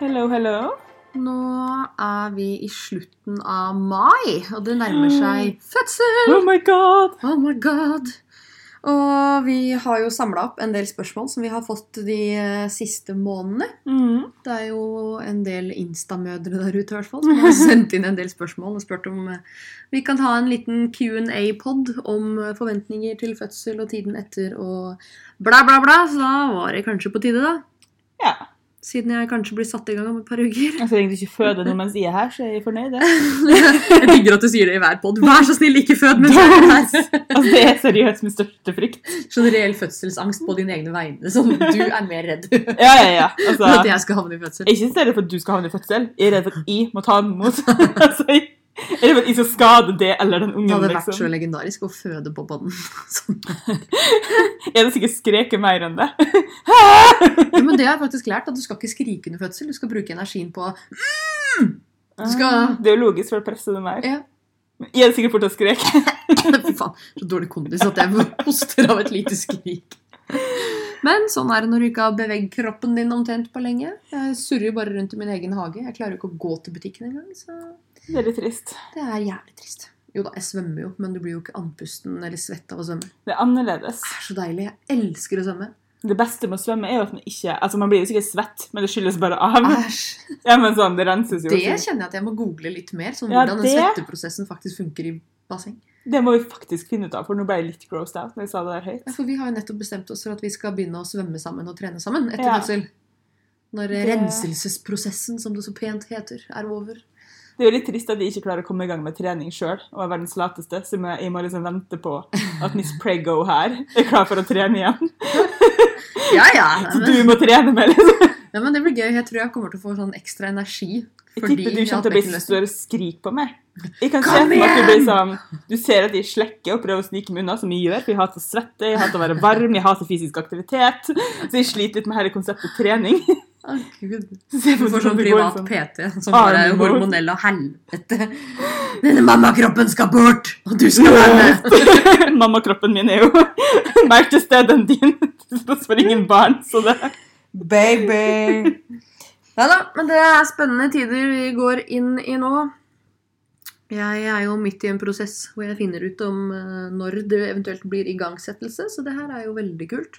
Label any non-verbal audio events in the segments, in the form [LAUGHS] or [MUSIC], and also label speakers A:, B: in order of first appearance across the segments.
A: Hello, hello.
B: Nå er vi i slutten av mai, og det nærmer seg fødsel!
A: Oh my god!
B: Oh my god! Og vi har jo samla opp en del spørsmål som vi har fått de eh, siste månedene.
A: Mm.
B: Det er jo en del instamødre der ute i hvert fall, som har sendt inn en del spørsmål og spurt om eh, vi kan ha en liten Q&A-pod om eh, forventninger til fødsel og tiden etter og bla, bla, bla. Så da var det kanskje på tide, da.
A: Ja.
B: Siden jeg kanskje blir satt i gang om et par uker.
A: Jeg skal Altså, egentlig ikke føde noe mens jeg er her, så jeg er fornøyd.
B: [LAUGHS]
A: jeg.
B: Jeg digger at du sier det i hver pod. Vær så snill, ikke fød mens jeg er [LAUGHS] her!
A: Altså, det er seriøst min største frykt.
B: Sånn reell fødselsangst på dine egne vegne, som du er mer redd for
A: Ja, ja, ja. Altså,
B: at
A: jeg
B: jeg skal havne i fødsel.
A: er ikke så redd for at du skal havne i fødsel. Jeg er redd for at jeg må ta den imot. [LAUGHS] altså, jeg jeg er redd for at jeg skal skade det eller den
B: Det
A: ungen.
B: hadde vært så
A: Liksom.
B: legendarisk å føde på podden. [LAUGHS] Sånn.
A: Jeg hadde sikkert skreket mer enn det.
B: Ja, men det har jeg faktisk lært, at du skal ikke skrike under fødsel. Du skal bruke energien på [LAUGHS] Du skal-
A: Det er jo logisk, for å presse det mer.
B: Ja.
A: Men Jeg hadde sikkert fortsatt skreket.
B: Fy faen, så dårlig kondis at jeg hoster av et lite skrik. Men sånn er det når du ikke har beveget kroppen din omtrent på lenge. Jeg surrer jo bare rundt i min egen hage. Jeg klarer jo ikke å gå til butikken engang, så
A: Det er litt trist.
B: det er jævlig trist. Jo da, jeg svømmer jo, men du blir jo ikke andpusten eller svett av å svømme.
A: Det er annerledes.
B: Det er så deilig. Jeg elsker å svømme.
A: Det beste med å svømme er jo at man ikke Altså, man blir jo sikkert svett, men det skylles bare av.
B: Æsj.
A: Ja, men sånn, det renses jo.
B: Ah. Det
A: Det,
B: kjenner jeg at jeg må google litt mer, sånn
A: Ja,
B: hvordan den
A: det-
B: svetteprosessen faktisk funker i basseng.
A: det må vi faktisk finne ut av, for nå ble jeg litt grossed out når jeg sa det der høyt.
B: Ja, For vi har jo nettopp bestemt oss for at vi skal begynne å svømme sammen og trene sammen etter
A: Ja.
B: fødsel. Når
A: Det-
B: renselsesprosessen, som det så pent heter, er over.
A: Det er jo litt trist at jeg ikke klarer å komme i gang med trening sjøl, og er verdens lateste, så jeg jeg må liksom vente på at Miss Prego her er klar for å trene igjen.
B: Ja, ja.
A: [LAUGHS] Så
B: Nei,
A: du
B: men,
A: må trene med, liksom.
B: nei, men det blir gøy. Jeg tror jeg kommer til å få sånn ekstra energi.
A: Jeg tipper du
B: jeg har
A: kommer til å bli så
B: bekkenløsning.
A: stor og skrik på meg. Jeg kan se
B: Kom
A: for meg at du blir
B: igjen!
A: sånn Du ser at jeg slekker og prøver å snike meg unna, som jeg gjør, for jeg hater å svette, jeg hater å være varm, jeg hater fysisk aktivitet. Så jeg sliter litt med hele konseptet trening. [LAUGHS]
B: Å, Gud.
A: Så jeg
B: [LAUGHS] Du får sånn
A: [LAUGHS] det går
B: privat
A: sånn.
B: PT som bare er
A: Arme bort.
B: hormonell og helvete. Denne mammakroppen skal bort, og du skal være
A: [LAUGHS]
B: med!
A: Mammakroppen min er jo [LAUGHS] mer til stede enn din. Til tross for ingen barn. Så det
B: Baby! Ja da, men det er spennende tider vi går inn i nå. Jeg er jo midt i en prosess hvor jeg finner ut om eh, når det eventuelt blir igangsettelse, så det her er jo veldig kult.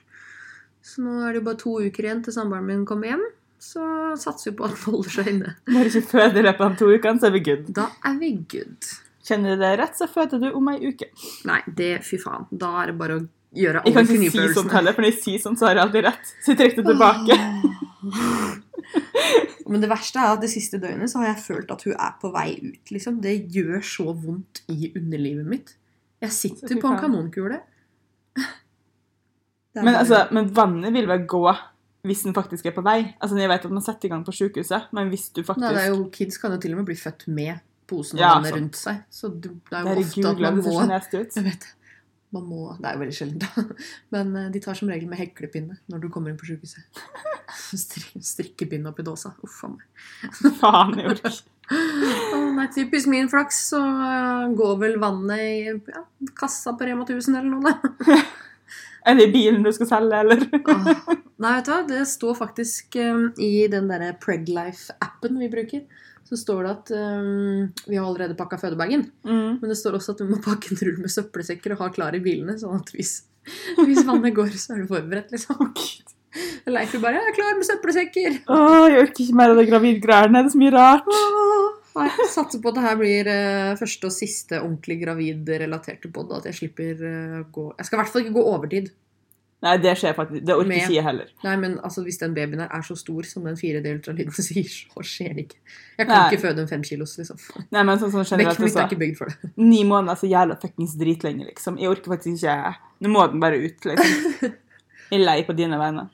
B: Så nå er det jo bare to uker igjen til samboeren min kommer hjem, så satser vi på at han holder seg inne.
A: Når du ikke føder i løpet av to uker, så er vi good.
B: Da er vi good.
A: Kjenner du det rett, så føder du om ei uke.
B: Nei, det fy faen. Da er det bare å gjøre
A: Jeg
B: alle
A: kan ikke si sånn
B: knipeøvelsene.
A: heller, for når jeg sier sånn, så har jeg alltid rett. Så jeg trekker det tilbake.
B: [LAUGHS] Men det verste er at det siste døgnet så har jeg følt at hun er på vei ut. liksom. Det gjør så vondt i underlivet mitt. Jeg sitter
A: Så fy
B: på en
A: faen.
B: kanonkule. Det er
A: [LAUGHS] Men,
B: bare-
A: altså, men vannet vil vel gå hvis den faktisk er på vei. Altså, Jeg vet at man setter i gang på sykehuset, men hvis du faktisk
B: Nei, det er jo, Kids kan jo til og med bli født med posen
A: Ja,
B: vannet
A: sant.
B: rundt seg. Så du- det er jo ofte
A: Herregud,
B: at man
A: det ser så
B: må
A: nasty ut. [LAUGHS]
B: Jeg vet det. Man må, Det er jo veldig sjelden, da. Men eh, de tar som regel med heklepinne når du kommer inn på sjukehuset. [LAUGHS] Strik- Strikkepinne oppi dåsa. Uff a meg.
A: Faen, jeg orker ikke.
B: Å, Nei, typisk min flaks, så eh, går vel vannet i ja, kassa på Rema 1000 eller noe. da.
A: Eller i bilen du skal selge,
B: [LAUGHS]
A: eller
B: Åh. Nei, vet du hva? Det står faktisk um, i den derre Preglife-appen vi bruker, så står det at um, vi har allerede pakka fødebagen.
A: mm.
B: Men det står også at vi må pakke en rull med søppelsekker og ha klar i bilene, sånn at hvis, hvis vannet går, så er du forberedt, liksom. Leif vil bare 'Jeg er klar med søppelsekker'.
A: Åh, jeg orker ikke mer av det gravidgreiene. Det er så mye rart.
B: Åh. Nei, jeg satser på at det her blir eh, første og siste ordentlig gravid-relaterte pod. At jeg slipper eh, gå Jeg skal i hvert fall ikke gå overtid.
A: Nei, det skjer faktisk. Det orker
B: Med-
A: ikke jeg heller.
B: Nei, men altså, hvis den babyen her er så stor som den 4D-ultralyden sier, så skjer det ikke. Jeg kan
A: Nei.
B: ikke føde en femkilos, liksom.
A: Nei, men sånn, sånn generelt
B: Bekkenet mitt er
A: også.
B: ikke bygd for det.
A: Ni måneder er så jævla fuckings dritlenge, liksom. Jeg orker faktisk ikke. Nå må den bare ut, liksom.
B: [LAUGHS]
A: Jeg er lei på dine vegne.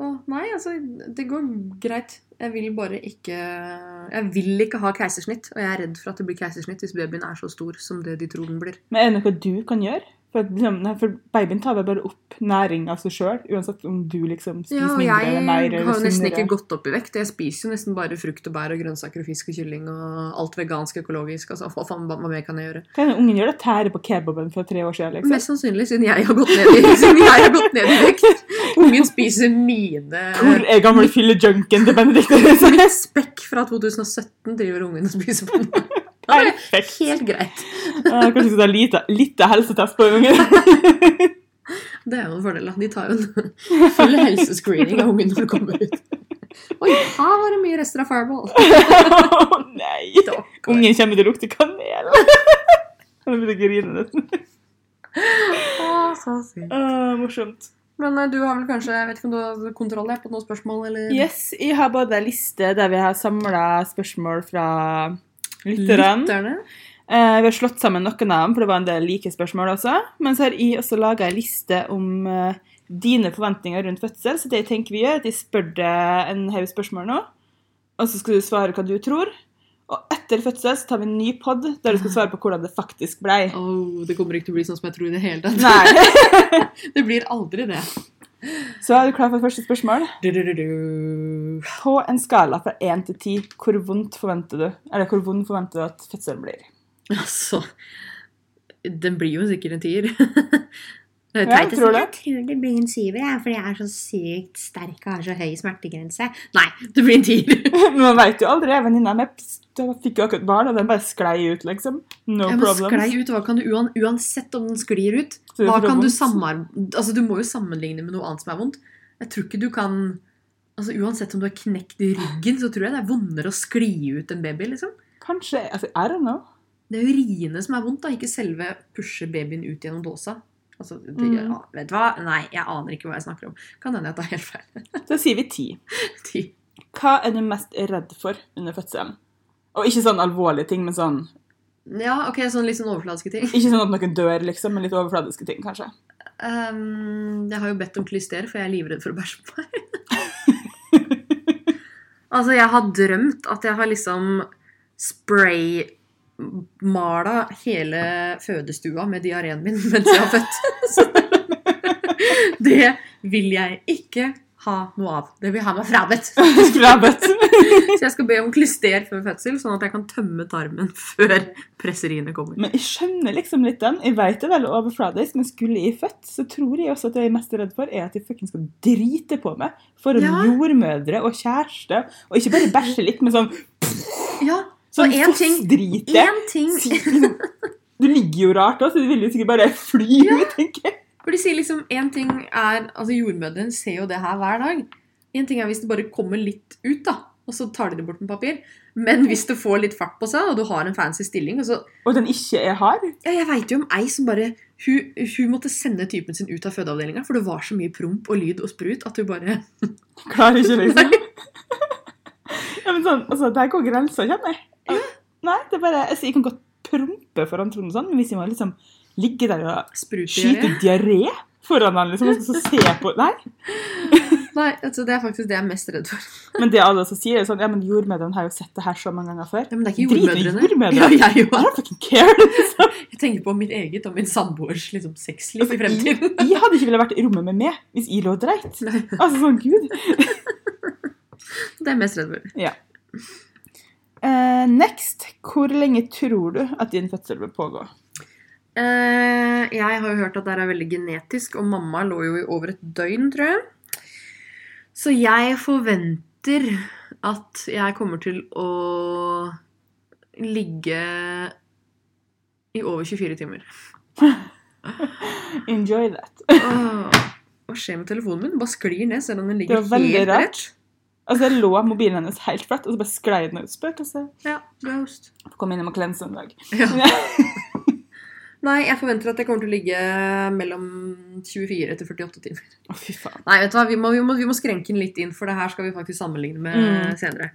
B: Å, nei, altså, det går greit. Jeg vil bare ikke Jeg vil ikke ha keisersnitt, og jeg er redd for at det blir keisersnitt hvis babyen er så stor som det de tror den blir.
A: Men er det noe du kan gjøre? For, at, liksom, nei, for babyen tar vel bare opp næring av seg sjøl, uansett om du liksom spiser
B: Ja, og
A: mindre
B: jeg
A: eller mer
B: har
A: eller
B: jo nesten ikke
A: sunnere.
B: gått opp i vekt. Jeg spiser jo nesten bare frukt og bær og grønnsaker og fisk og kylling og alt vegansk økologisk. Altså, hva faen, hva hva mer kan jeg gjøre?
A: Hva er det ungen gjør? Det tærer på kebaben fra tre år siden, liksom.
B: [LAUGHS] Mest sannsynlig siden jeg har gått ned i, siden jeg har gått ned i vekt. Ungen Ingen spiser mine
A: Hvor er gamle fyllejunken til Benedicte? Riise?
B: [LAUGHS] Mitt spekk fra 2017 driver ungen og spiser på
A: [LAUGHS]
B: nå. Ja, det er
A: Perfekt.
B: Helt greit.
A: Ja, kanskje vi skal ta lite, lite helsetest på
B: [LAUGHS]
A: ungen.
B: Det er jo en fordel. da. De tar jo en [LAUGHS] full helsescreening av ungen når du kommer ut. Oi, her var det mye rester av Fireball.
A: Å nei!
B: Stakkar.
A: Ungen kommer til å lukte kanel. [LAUGHS] Jeg begynner å grine nesten.
B: Å, så sykt.
A: Å, morsomt.
B: Men eh, du har vel kanskje jeg vet ikke om du har kontroll her på noen spørsmål? Eller?
A: Yes, jeg har både en liste der vi har samla spørsmål fra lytterne.
B: Lytterne?
A: Eh, vi har slått sammen noen av dem, for det var en del like spørsmål også. Men så har jeg også laga ei liste om eh, dine forventninger rundt fødsel. Så det jeg tenker vi gjør, er at jeg spør deg en haug spørsmål nå, og så skal du svare hva du tror. Og etter fødsel så tar vi en ny pod der du skal svare på hvordan det faktisk blei.
B: Åh, det kommer ikke til å bli sånn som jeg tror i det hele tatt.
A: Nei.
B: Det blir aldri det.
A: [LAUGHS] Så er du klar for første spørsmål?
B: Du, du, du, du.
A: På en skala fra 1 til 10, hvor vondt forventer du Eller hvor vond forventer du at fødselen blir? [LAUGHS]
B: Altså Den blir jo sikkert en tier. Jeg
A: Ja, tror du?
C: Jeg tror det blir en syver, jeg, fordi jeg er så sykt sterk og har så høy smertegrense.
B: Nei, det blir en tier.
A: Men man veit jo aldri. Venninna mi fikk jo akkurat barn, og den bare sklei ut, liksom. No
B: Ja, men sklei
A: problem.
B: ut, hva kan du uan, Uansett om den sklir ut,
A: Så det
B: hva
A: får
B: kan du
A: vondt.
B: samarbeide Altså, du må jo sammenligne med noe annet som er vondt. Jeg tror ikke du kan Altså, Uansett om du har knekt i ryggen, så tror jeg det er vondere å skli ut en baby. liksom.
A: Kanskje altså, I don't know.
B: Det er jo riene som er vondt, da, ikke selve pushe babyen ut gjennom dåsa. Altså, det,
A: Mm.
B: ja, Vet du hva? Nei, jeg aner ikke hva jeg snakker om. Kan hende jeg tar helt feil.
A: Så sier vi 10.
B: Ti.
A: Hva er du mest redd for under fødselen? Og ikke sånn alvorlige ting, men sånn
B: Ja, ok, sånn litt sånn overfladiske ting.
A: Ikke sånn at noen dør, liksom, men litt overfladiske ting, kanskje. [LAUGHS]
B: Ehm, jeg har jo bedt om klyster, for jeg er livredd for å bæsje på meg. altså, jeg har drømt at jeg har liksom spraymala hele fødestua med diareen min mens jeg har født. [LAUGHS] Så det vil jeg ikke ha noe av. Det vil jeg ha meg frabedt.
A: Skrabet.
B: Så jeg skal be om klyster før fødsel, sånn at jeg kan tømme tarmen før presseriene kommer.
A: Men jeg skjønner liksom litt den. Jeg vet det er veldig overfladisk, men skulle jeg født, så tror jeg også at det jeg er mest redd for, er at jeg fucking skal drite på meg foran
B: Ja.
A: jordmødre og kjæreste. Og ikke bare bæsje litt, men sånn,
B: Ja,
A: sånn
B: Og en ting-
A: fossdrite.
B: én ting
A: Du ligger jo rart da, så du vil jo sikkert bare fly ut, tenker jeg.
B: For de sier liksom en ting er Altså jordmødrene ser jo det her hver dag. En ting er hvis det bare kommer litt ut, da, og så tar de det bort med papir. Men hvis det får litt fart på seg, og du har en fancy stilling og så,
A: Og den ikke er hard.
B: ja, Jeg veit jo om ei som bare hun, hun måtte sende typen sin ut av fødeavdelinga, for det var så mye promp og lyd og sprut at hun bare
A: Klarer ikke, liksom.
B: [LAUGHS]
A: ja, men sånn, altså, der går grensa, kjenner jeg. Al- Nei, det er bare, altså, Jeg kan godt prompe foran Trond, og sånn, men hvis jeg må liksom ligge der og
B: sprut i
A: skyte
B: øret.
A: diaré foran han, liksom, og så [LAUGHS] se på Nei.
B: Nei, altså, det er faktisk det jeg er mest redd for.
A: Men det alle også sier, er sånn Ja, men jordmødrene har jo sett det her så mange ganger før.
B: Ja, men det er ikke
A: Drit i
B: jordmødrene.
A: jordmødre.
B: Ja, jeg,
A: I
B: jo.
A: don't fucking care.
B: jeg tenker på mitt eget og min samboers liksom, sexliv
A: Altså,
B: i fremtiden. [LAUGHS]
A: jeg, jeg hadde ikke villet vært i rommet med meg hvis jeg lå og dreit. Altså, sånn, gud.
B: Det er jeg mest redd for.
A: Eh, next. Hvor lenge tror du at din fødsel vil pågå?
B: Eh, jeg har jo hørt at det her er veldig genetisk, og mamma lå jo i over et døgn, tror jeg. Så jeg forventer at jeg kommer til å ligge i over 24 timer.
A: Enjoy that.
B: Åh, hva skjer med telefonen min? Den bare sklir ned selv om den ligger
A: Det var veldig
B: helt
A: rart.
B: rett.
A: Altså, jeg lå mobilen hennes helt flatt, og så bare sklei den ut. Spøk, altså.
B: Ja, ghost.
A: Får komme innom og klense en dag.
B: Ja. Nei, jeg forventer at jeg kommer til å ligge mellom 24 til 48 timer.
A: Å, fy faen.
B: Nei, vet du hva, vi må, vi, må, vi må skrenke den litt inn, for det her skal vi faktisk sammenligne med
A: Mm.
B: senere.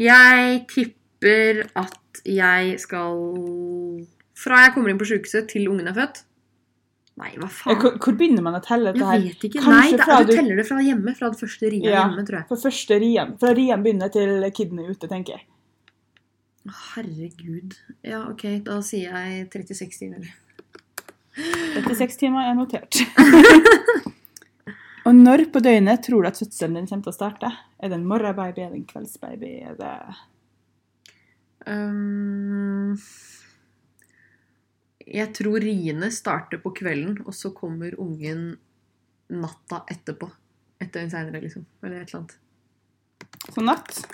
B: Jeg tipper at jeg skal Fra jeg kommer inn på sjukehuset til ungen er født Nei, hva
A: Eh,
B: faen?
A: Hvor, hvor begynner man å telle dette
B: Jeg
A: her?
B: vet ikke.
A: Kanskje
B: Nei, det,
A: fra
B: du
A: du-
B: teller det fra hjemme. Fra det første riet
A: Ja.
B: hjemme, tror jeg.
A: For første rien. Fra rien begynner til kiden er ute, tenker jeg.
B: Herregud. Ja, ok, da sier jeg 36 timer.
A: 36 timer er [LAUGHS] notert. og når på døgnet tror du at fødselen din kommer til å starte? Er det en morgenbaby? Er det en kveldsbaby? Er det
B: Um, jeg tror riene starter på kvelden, og så kommer ungen natta etterpå. et døgn seinere, liksom. Eller et eller annet.
A: Så sånn natt.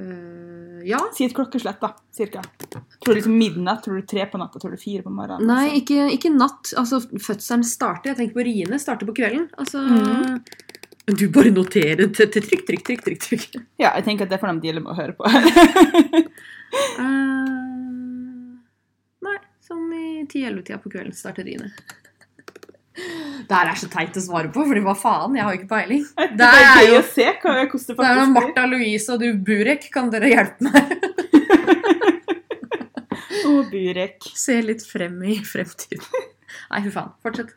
B: Eh, ja.
A: Si et klokkeslett, da. Cirka. Tror du liksom midnatt? Tror du tre på natta? Tror du fire på morgenen?
B: Nei, ikke, ikke natt. Altså, fødselen starter. Jeg tenker på riene. Starter på kvelden. Altså
A: Mhm.
B: Du bare noterer til til trykk, trykk, trykk, trykk. trykk.
A: Ja, jeg tenker at det får de deale med å høre [LAUGHS] på.
B: Eh, nei, sånn i 10-11-tida på kvelden starter riene. Det her er så teit å svare på, fordi hva faen? Jeg har ikke
A: [LAUGHS]
B: peiling.
A: Det er gøy å se hva, hvordan det
B: Det er jo
A: faktisk blir.
B: Martha Louise og du Burek, kan dere hjelpe meg?
A: Å, Burek.
B: [LAUGHS] Se litt frem i fremtiden. Nei, fy faen. Fortsett.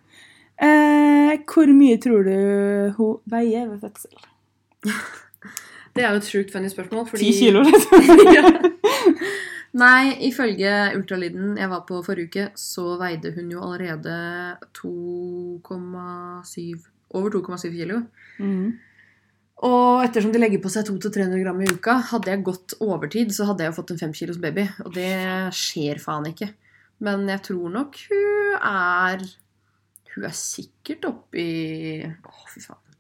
A: Eh, hvor mye tror du hun veier ved fødsel?
B: Det er jo et sjukt funny spørsmål.
A: Ti
B: Fordi...
A: kilo,
B: [LAUGHS]
A: liksom? [LAUGHS]
B: ja. Nei, ifølge ultralyden jeg var på forrige uke, så veide hun jo allerede 2,7 Over 2,7 kilo.
A: Mm.
B: Og ettersom de legger på seg 200-300 gram i uka, hadde jeg gått overtid, så hadde jeg jo fått en 5 kilos baby. Og det skjer faen ikke. Men jeg tror nok hun er Hun er sikkert oppi Å, fy faen.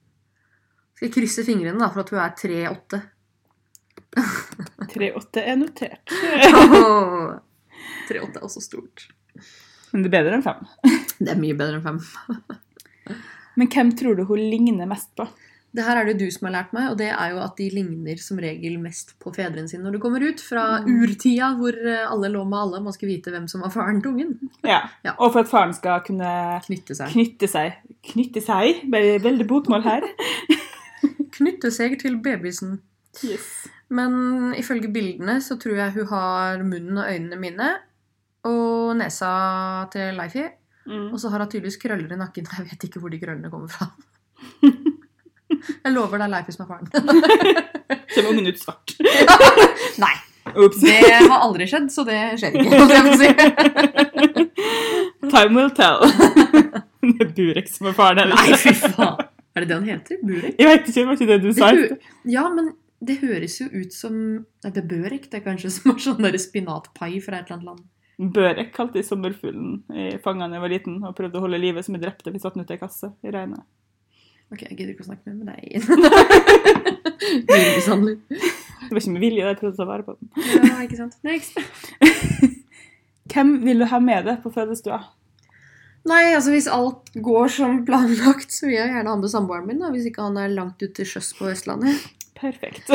B: Skal jeg krysse fingrene da, for at hun er 3,8. [LAUGHS]
A: 3,8 er notert.
B: Åh, 3,8 er også stort.
A: Men det er bedre enn fem.
B: Det er mye bedre enn 5.
A: Men hvem tror du hun ligner mest på?
B: Det her er det du som har lært meg, og det er jo at de ligner som regel mest på fedrene sine når du kommer ut fra urtida hvor eh, alle lå med alle, man skulle vite hvem som var faren til ungen.
A: Ja.
B: Ja.
A: Og for at faren skal kunne
B: Knytte seg.
A: knytte seg Knytte seg? Bare veldig bokmål her.
B: Knytte seg til babysen.
A: [LAUGHS] Yes.
B: Men ifølge bildene så tror jeg hun har munnen og øynene mine og nesa til Leifi.
A: Mm.
B: Og så har hun tydeligvis krøller i nakken. [LAUGHS] Jeg vet ikke hvor de krøllene kommer fra. Jeg lover det er Leifi som er faren.
A: Kommer ungen ut svart.
B: [LAUGHS] Nei,
A: Ops. [LAUGHS]
B: det har aldri skjedd, så det skjer ikke. holdt jeg på å si.
A: Time will tell. [LAUGHS] Det er Burek som er faren
B: Nei,
A: hennes.
B: [LAUGHS] fy faen. Er det det han heter? Burek?
A: Jeg vet ikke, det var ikke det du sa.
B: Det hø- ja, men det høres jo ut som Nei, det er Børek. Det er kanskje som er sånn der spinatpai fra et eller annet land.
A: Børek kalte jeg sommerfuglen i fangene da jeg var liten, og prøvde å holde livet som jeg drepte hvis jeg satte den ut i kasse i regnet.
B: Ok, jeg gidder ikke å snakke mer med deg. [LAUGHS] Dyremishandler.
A: Det var ikke med vilje, jeg prøvde å ta vare på den.
B: ja, ikke sant. Next.
A: Hvem vil du ha med deg på fødestua?
B: Nei, altså hvis alt går som planlagt, så vil jeg gjerne ha med samboeren min. Da, hvis ikke han er langt ute til sjøs på Østlandet.
A: Perfekt.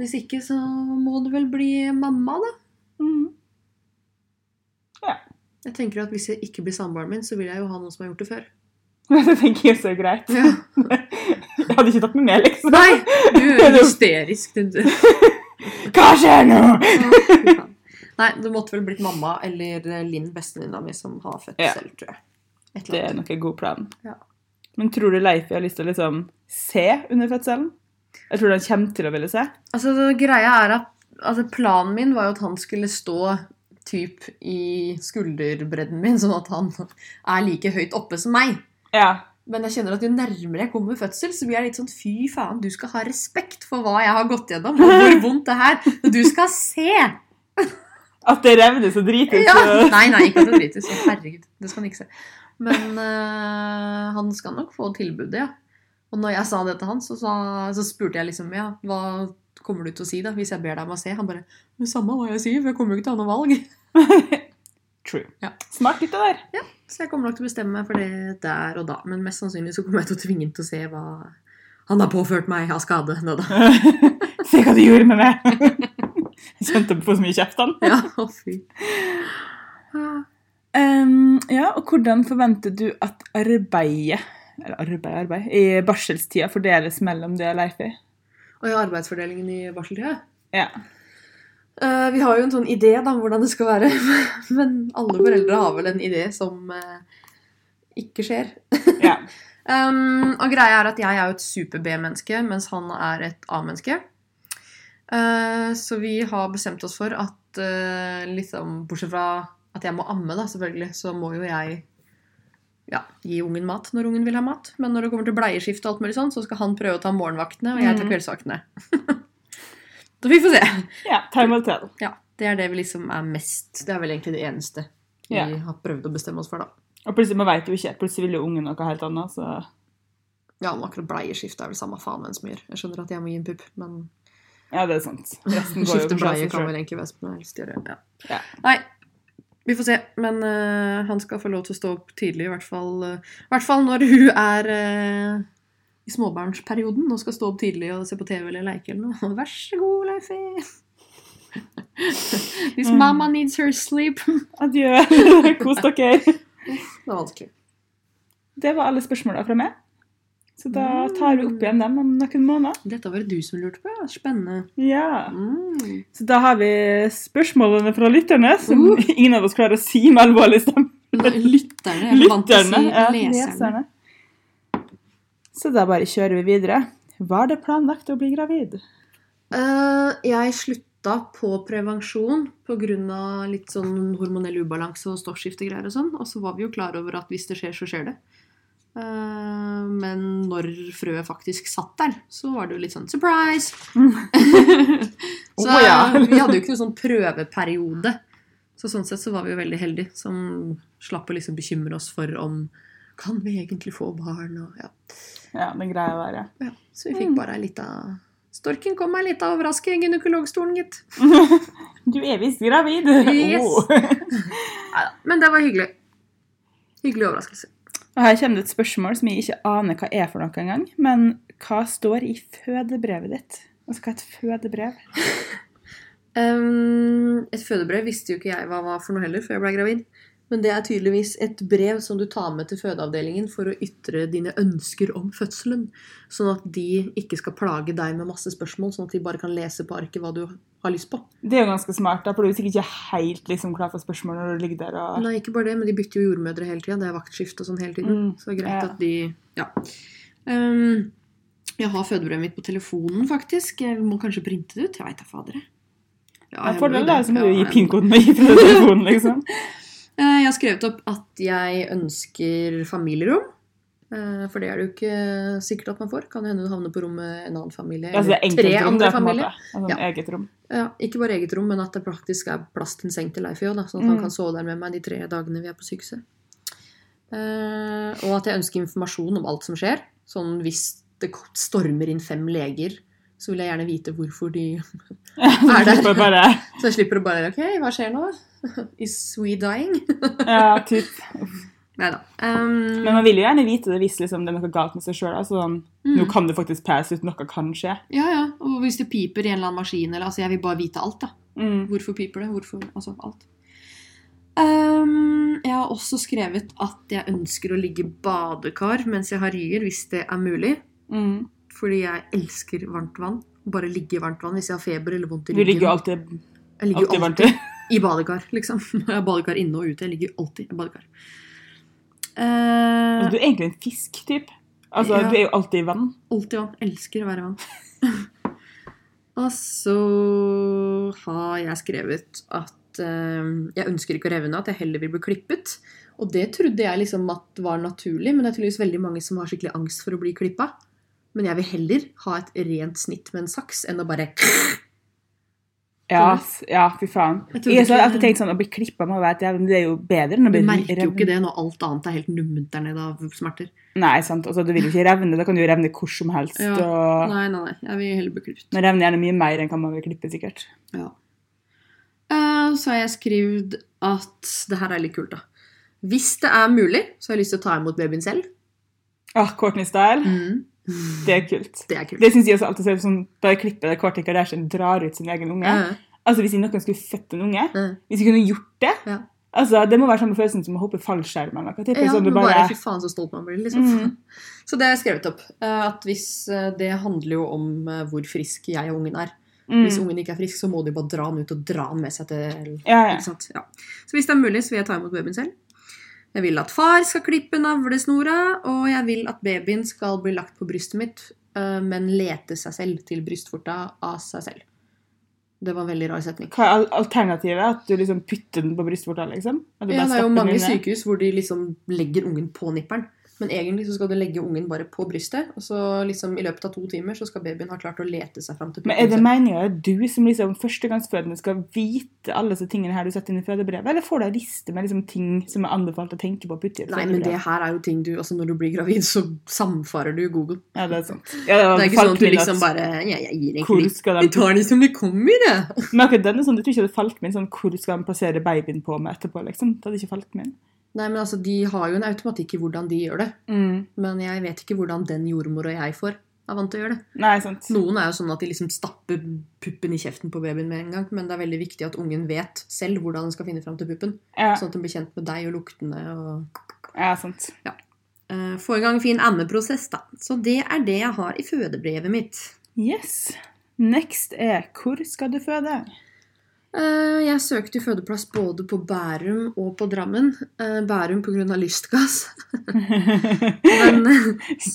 B: Hvis ikke, så må det vel bli mamma, da.
A: [LAUGHS] Mm. [LAUGHS]
B: Jeg tenker at Hvis jeg ikke blir samboeren min, så vil jeg jo ha noen som har gjort det før.
A: Det tenker jeg så er greit.
B: Ja.
A: Jeg hadde ikke tatt med meg, liksom.
B: [LAUGHS] Nei! Du er hysterisk. du- du.
A: Hva skjer nå?
B: Nei, det måtte vel blitt mamma eller Linn, bestevenninna mi, som har født
A: Ja.
B: selv, tror jeg. Et
A: Det
B: eller
A: er
B: annet.
A: nok en god plan.
B: Ja.
A: Men tror du Leif har lyst til å liksom se under fødselen? Jeg tror han kommer til å ville se.
B: Altså, det greia er at altså, planen min var jo at han skulle stå typ i skulderbredden min, sånn at han er like høyt oppe som meg.
A: Ja.
B: Men jeg kjenner at jo nærmere jeg kommer fødsel, så blir jeg litt sånn fy faen, du skal ha respekt for hva jeg har gått gjennom, og hvor vondt det er. Du skal se!
A: At det revner så dritet.
B: Ja.
A: så-
B: Nei, nei, ikke at det brytes. Å, Herregud, det skal han ikke se. Men eh, han skal nok få tilbudet, ja. Og når jeg sa det til han, så, sa, så spurte jeg liksom ja, hva kommer du til å si da, hvis jeg ber deg om å se? Han bare men samme hva jeg sier, for jeg kommer jo ikke til å ha noe valg. [LAUGHS]
A: True.
B: Ja.
A: Smart gutt, det der.
B: Så jeg kommer nok til å bestemme meg for det der og da. Men mest sannsynlig så kommer jeg til å tvinge han til å se hva han har påført meg av skade. Nå da.
A: [LAUGHS]
B: [LAUGHS]
A: Se hva du gjorde med meg! [LAUGHS] Jeg kjente på så mye kjeft han.
B: Ja, å fy. Ah.
A: ja, og hvordan forventer du at arbeidet eller arbeid, arbeid, i barselstida fordeles mellom det og Leifi?
B: Og jeg har arbeidsfordelingen i barseltida.
A: Ja.
B: Eh, vi har jo en sånn idé da, om hvordan det skal være, [LAUGHS] men alle foreldre har vel en idé som eh, ikke skjer.
A: ja.
B: [LAUGHS] Um, og greia er at jeg er jo et super-B-menneske, mens han er et A-menneske. Eh, så vi har bestemt oss for at eh, liksom, bortsett fra at jeg må amme, da, selvfølgelig, så må jo jeg ja, gi ungen mat når ungen vil ha mat. Men når det kommer til bleieskift og alt mulig sånn, så skal han prøve å ta morgenvaktene, og jeg tar
A: Mhm.
B: kveldsvaktene. [LAUGHS] så vi får se.
A: ja. Time will tell.
B: Ja, det er det vi liksom er mest Det er vel egentlig det eneste vi
A: Ja.
B: har prøvd å bestemme oss for, da.
A: Og plutselig man vet jo ikke. Plutselig vil jo ungen noe helt annet. Så
B: Ja, men akkurat bleieskift er vel samme faen hvem som gjør. Jeg skjønner at jeg må gi en pupp, men
A: Ja, det er sant. Resten går jo
B: skifte
A: for seg
B: bleie kan
A: selv.
B: vel egentlig hvem som helst gjøre. Ja.
A: Ja.
B: Nei, vi får se. Men eh, han skal få lov til å stå opp tidlig, i hvert fall, eh, i hvert fall når hun er eh, i småbarnsperioden og skal stå opp tidlig og se på TV eller leke eller noe. [LAUGHS] Vær så god, Leifie! [LAUGHS] This
A: Mm.
B: mama needs her sleep.
A: Adjø. [LAUGHS] Kos dere.
B: Det er vanskelig.
A: Det var alle spørsmåla fra meg. Så da tar vi opp igjen dem om noen måneder.
B: Dette var det du som lurte på, ja. Spennende.
A: Ja.
B: Mm.
A: Så da har vi spørsmålene fra lytterne, som
B: Uh.
A: [LAUGHS] ingen av oss klarer å si med alvorlig stemme.
B: Lytterne. Jeg er vant til å si
A: Lytterne. Ja,
B: leserne.
A: leserne. Så da bare kjører vi videre. Var det planlagt å bli gravid?
B: Eh, jeg slutta på prevensjon pga. litt sånn hormonell ubalanse og stoffskiftegreier og sånn. Og så var vi jo klar over at hvis det skjer, så skjer det. Eh, men når frøet faktisk satt der, så var det jo litt sånn
A: [LAUGHS]
B: surprise! så
A: Å, ja.
B: [LAUGHS] vi hadde jo ikke noen sånn prøveperiode. Så sånn sett så var vi jo veldig heldige som slapp å liksom bekymre oss for om kan vi egentlig få barn og ja.
A: Ja, den greia der, ja.
B: Ja, så vi fikk bare ei lita Storken kom med ei lita overraskelse i gynekologstolen, gitt.
A: Du er visst gravid! Oh.
B: Yes.
A: Åh.
B: Neida, Men det var hyggelig. Hyggelig overraskelse.
A: Og her kommer det et spørsmål som jeg ikke aner hva er for noe engang. Men hva står i fødebrevet ditt? Altså, hva er et fødebrev?
B: Ehm, et fødebrev visste jo ikke jeg hva var for noe heller før jeg ble gravid. Men det er tydeligvis et brev som du tar med til fødeavdelingen for å ytre dine ønsker om fødselen. Sånn at de ikke skal plage deg med masse spørsmål, sånn at de bare kan lese på arket hva du har lyst på.
A: Det er jo ganske smart, da, for du er sikkert ikke helt liksom, klar for spørsmål når du ligger der og
B: Nei, ikke bare det, men de bytter jo jordmødre hele tida. Det er vaktskift og sånn hele tiden.
A: Mm,
B: Så det er greit
A: ja.
B: at de Ja. Ehm, jeg har fødebrevet mitt på telefonen, faktisk. Jeg må kanskje printe det ut. Jeg veit da fader. jeg. Ja,
A: ja,
B: jeg må jo
A: Fordelen er jo som å
B: Ja,
A: gi
B: jeg må-
A: pinkoden med i telefonen, [LAUGHS] liksom.
B: Eh, Jeg har skrevet opp at jeg ønsker familierom. eh, For det er det jo ikke sikkert at man får. Kan hende du havner på rom med en annen familie.
A: Altså, det er
B: eller tre
A: enkeltrom, det
B: andre
A: er på en
B: familier.
A: måte. Altså,
B: Ja.
A: Eget
B: [LAUGHS]
A: rom.
B: Ja, ikke bare eget rom, men at det praktisk er plass til en seng til Leif i år, da, sånn at
A: Mm.
B: han kan sove der med meg de tre dagene vi er på sykehuset. Eh, og at jeg ønsker informasjon om alt som skjer. Sånn hvis det k- stormer inn fem leger, så vil jeg gjerne vite hvorfor de
A: Er [LAUGHS]
B: der.
A: Bare,
B: Så jeg slipper å bare OK, hva skjer nå? [LAUGHS] Is we dying? Um,
A: ja, typ.
B: Nei da.
A: Men man vil jo gjerne vite det hvis liksom, det er noe galt med seg sjøl. Altså, sånn, Nå kan det faktisk pæres ut, noe kan skje.
B: mm. Ja, ja. Og hvis det piper i en eller annen maskin, eller altså Jeg vil bare vite alt, da.
A: Mm.
B: Hvorfor piper det? Hvorfor Altså alt. Ehm, jeg har også skrevet at jeg ønsker å ligge i badekar mens jeg har ryer, hvis det er mulig.
A: Mm.
B: Fordi jeg elsker varmt vann. Bare ligge i varmt vann hvis jeg har feber eller vondt i
A: Du
B: ryggen.
A: ligger jo alltid,
B: jeg ligger
A: alltid
B: alltid,
A: varmt [LAUGHS] i.
B: i badekar, liksom. [LAUGHS] Jeg har badekar inne og ute. Jeg ligger alltid i badekar. Ehm,
A: Altså, Du er egentlig en fisk, typ. Altså,
B: Ja.
A: Du er jo alltid i vann.
B: Alltid vann. Elsker å være i vann. [LAUGHS] og så har jeg skrevet at eh, jeg ønsker ikke å revne, at jeg heller vil bli klippet. Og det trodde jeg liksom at var naturlig, men det er tydeligvis veldig mange som har skikkelig angst for å bli klippa. Men jeg vil heller ha et rent snitt med en saks enn å bare
A: Ja, s- ja fy faen.
B: Jeg trodde
A: Jeg har
B: ikke-
A: alltid tenkt sånn, Å bli klippa må være et jævlig, men det er jo bedre enn
B: Du
A: å bli
B: merker jo
A: revnet.
B: ikke det når alt annet er helt numment der nede av smerter.
A: Nei, sant. Altså, du vil jo ikke revne. Da kan du jo revne hvor som helst.
B: Ja.
A: Og...
B: Nei, nei, nei. Jeg vil heller bli klippet.
A: Man revner gjerne mye mer enn hva man vil klippe, sikkert.
B: Ja. Eh, Så har jeg skrevet at det her er litt kult, da. Hvis det er mulig, så har jeg lyst til å ta imot babyen selv.
A: Ah, Courtney Style.
B: Mm.
A: Det er kult.
B: Det er kult.
A: Det syns jeg også alltid ser ut som bare klippet der Courtney Kardashian drar ut sin egen unge.
B: Ja,
A: Altså, Hvis noen skulle født en unge,
B: ja.
A: Hvis vi kunne gjort det
B: Ja.
A: altså, Det må være samme følelsen som å hoppe i fallskjerm. eller noe. Det er
B: Ja,
A: sånn du
B: men
A: bare,
B: bare fy faen så stolt man blir, liksom.
A: Mm.
B: [LAUGHS] Så det har jeg skrevet opp. eh, At hvis eh, Det handler jo om eh, hvor frisk jeg og ungen er. Hvis
A: mm.
B: ungen ikke er frisk, så må de bare dra den ut og dra den med seg til
A: ja, ja.
B: Ikke sant? Ja. Så hvis det er mulig, så vil jeg ta imot babyen selv. Jeg vil at far skal klippe navlesnora, og jeg vil at babyen skal bli lagt på brystet mitt, eh, men lete seg selv til brystvorta av seg selv. Det var en veldig rar setning.
A: Hva er al- alternativet? At du liksom putter den på brystvorta? liksom? At du
B: Ja, det er jo
A: bare stapper den
B: mange
A: inn i-
B: sykehus hvor de liksom legger ungen på nipperen. Men egentlig så skal du legge ungen bare på brystet, og så liksom i løpet av to timer så skal babyen ha klart å lete seg fram til
A: Men er det
B: puppen selv.
A: meninga at du som liksom førstegangsfødende skal vite alle disse tingene her du setter inn i fødebrevet, eller får du ei liste med liksom ting som er anbefalt å tenke på å putte i et
B: Nei, men det
A: fødebrev?
B: her er jo ting du Altså, når du blir gravid, så samfarer du Google.
A: Ja, det er sant. Ja, det, var
B: Det er ikke sånn at du
A: falt min
B: liksom
A: at-
B: bare Ja, jeg gir egentlig
A: Hvor
B: litt.
A: skal
B: Vi
A: de,
B: tar det som det kommer, jeg.
A: men akkurat den er sånn, jeg tror ikke det falt min sånn, hvor skal de plassere babyen på med etterpå, liksom. Det hadde ikke falt min.
B: Nei, men altså, de har jo en automatikk i hvordan de gjør det. Men jeg vet ikke hvordan den jordmor og jeg får er vant til å gjøre det.
A: Nei, sant.
B: Noen er jo sånn at de liksom stapper puppen i kjeften på babyen med en gang, men det er veldig viktig at ungen vet selv hvordan den skal finne fram til puppen.
A: Ja,
B: Sånn at den blir kjent med deg og luktene og
A: ja sant.
B: Eh, Få i gang fin ammeprosess, da. Så det er det jeg har i fødebrevet mitt.
A: Yes. Next er hvor skal du
B: [LAUGHS]
A: føde?
B: Eh, Jeg søkte jo fødeplass både på Bærum og på Drammen. Eh, Bærum pga. lystgass. [LAUGHS] Men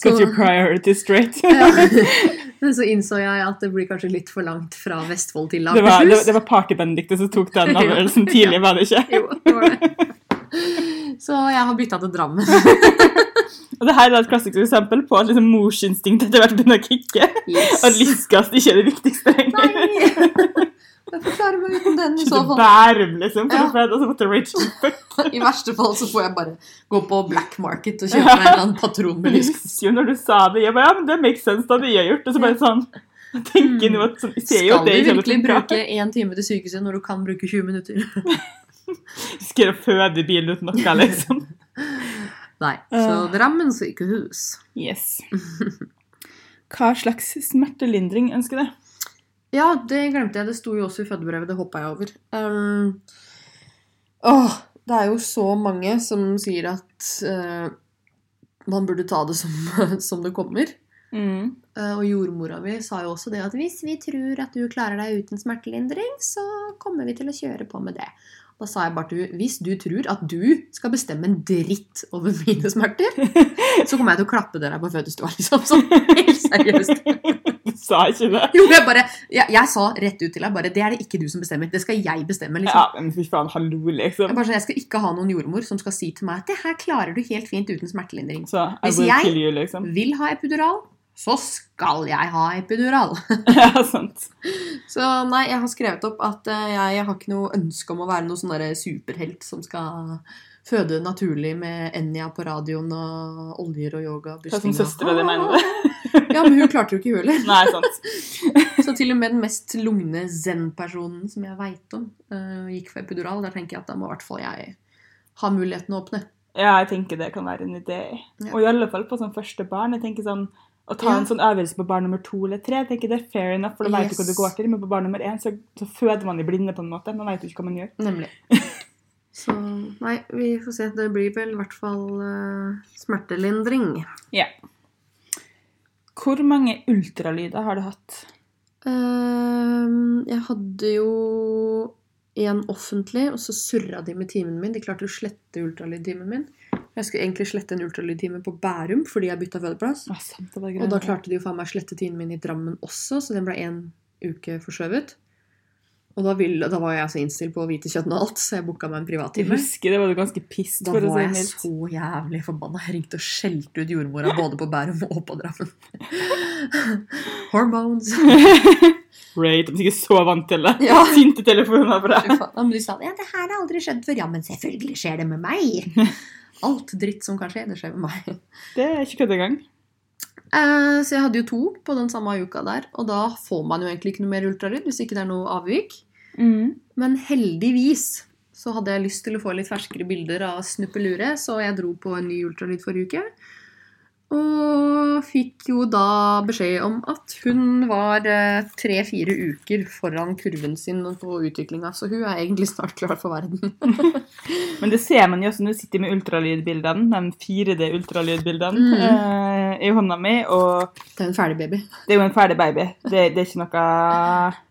A: Got your
B: Så-
A: priority straight.
B: Ja. [LAUGHS] Men så innså jeg at det blir kanskje litt for langt fra Vestfold til
A: [LAUGHS] Det var, det,
B: Akershus. [LAUGHS]
A: det var Party-Benedicte som tok den avgjørelsen tidlig, var det ikke?
B: Jo, det [LAUGHS] var det. Så jeg har bytta til Drammen.
A: Og det her er et klassisk eksempel på at liksom morsinstinktet etter hvert begynner å kicke. [LAUGHS] Og at lystgass ikke er det viktigste
B: Nei!
A: lenger. [LAUGHS]
B: Jeg får klare meg uten den i
A: Ikke
B: så
A: til
B: fall.
A: Bærum, liksom. For
B: Ja.
A: å føde, og så måtte Rachel
B: I verste fall så får jeg bare gå på black market og
A: [LAUGHS]
B: kjøpe meg en eller annen patron med lystgass.
A: belyse jo når du sa det. Jeg bare, ja, men det makes sense da det jeg har gjort. Og så bare sånn jeg tenker nå at sånn, jeg ser jo
B: Skal
A: at
B: du
A: det ikke hadde
B: virkelig
A: funket.
B: bruke én time til sykehuset når du kan bruke 20 minutter? [LAUGHS]
A: Skal jeg føde i bilen uten noe, liksom?
B: Nei.
A: Eh.
B: Så Drammen sykehus.
A: Yes. Hva slags smertelindring ønsker du?
B: Ja, det glemte jeg. Det sto jo også i fødebrevet. Det hoppa jeg over. Ehm, åh, det er jo så mange som sier at eh, man burde ta det som, som [LAUGHS] det kommer.
A: Mm.
B: Eh, og jordmora mi sa jo også det at hvis vi tror at du klarer deg uten smertelindring, så kommer vi til å kjøre på med det. Da sa jeg bare til henne hvis du tror at du skal bestemme en dritt over mine smerter, så kommer jeg til å klappe dere på fødestua, liksom. Sånn helt seriøst.
A: [LAUGHS] Du sa ikke det?
B: Jo, jeg bare jeg, jeg sa rett ut til deg bare Det er det ikke du som bestemmer. Det skal jeg bestemme, liksom.
A: Ja, men fy faen, hallo, liksom.
B: Jeg, bare, sa, jeg skal ikke ha noen jordmor som skal si til meg at det her klarer du helt fint uten smertelindring.
A: Så I
B: Hvis
A: will
B: jeg-
A: kill you, liksom. [LAUGHS]
B: Vil ha epidural, så skal jeg ha epidural.
A: Ja, sant.
B: Så nei, jeg har skrevet opp at eh, jeg har ikke noe ønske om å være noen sånn derre superhelt som skal føde naturlig med Enja på radioen og oljer og yoga.
A: Hva som sånn søstera di mener det?
B: [LAUGHS] Ja, men hun klarte jo ikke hun heller.
A: [LAUGHS] Nei, sant.
B: Så til og med den mest lugne zen-personen som jeg veit om, eh, gikk for epidural. Da tenker jeg at da må i hvert fall jeg ha muligheten å åpne.
A: Ja, jeg tenker det kan være en idé.
B: Ja.
A: Og i alle fall på sånn første barn. jeg tenker sånn, Å ta en
B: Ja.
A: sånn øvelse på barn nummer to eller tre jeg tenker det er fair enough, for da vet du hva du
B: Yes.
A: går til. Men på barn nummer én så, så føder man i blinde, på en måte. Man vet jo ikke hva man gjør.
B: Nemlig. Så nei, vi får se. Det blir vel i hvert fall eh, smertelindring.
A: Hvor mange ultralyder har du hatt?
B: Ehm, jeg hadde jo en offentlig, og så surra de med timen min. De klarte å slette ultralydtimen min. Jeg skulle egentlig slette en ultralydtime på Bærum fordi jeg bytta fødeplass.
A: Å, Ah, sant, det var
B: Og da klarte de jo faen meg å slette timen min i Drammen også, så den ble én uke forskjøvet. Og da, ville, da var jeg så innstilt på å hvite kjønn og alt, så jeg booka meg en
A: Jeg
B: privattime.
A: husker det var du ganske pissed,
B: Da
A: for å
B: var
A: si det
B: jeg
A: mildt.
B: så jævlig forbanna. Jeg ringte og skjelte ut jordmora både på Bærum og på Drammen.
A: [LAUGHS]
B: Hormones.
A: Great. De er sikkert så vant til det.
B: Ja.
A: [LAUGHS] Sinte telefoner fra [LAUGHS]
B: Fy faen, Men du sa
C: Ja, det her har jeg aldri skjønt før. Ja, men selvfølgelig skjer det med meg.
B: alt dritt som kan skje, det skjer med meg.
A: Det er ikke kødd engang.
B: Eh, så jeg hadde jo to på den samme uka der, og da får man jo egentlig ikke noe mer ultralyd hvis ikke det er noe avvik.
A: Mm.
B: Men heldigvis så hadde jeg lyst til å få litt ferskere bilder av snuppelure, så jeg dro på en ny ultralyd forrige uke. Og fikk jo da beskjed om at hun var eh, tre-fire uker foran kurven sin på utviklinga, så hun er egentlig snart klar for verden.
A: Men det ser man jo også når du sitter med ultralydbildene, de 4D-ultralydbildene
B: Mm.
A: eh, i hånda mi, og
B: Det er en ferdig baby.
A: det er jo en ferdig baby. Det, det er ikke noe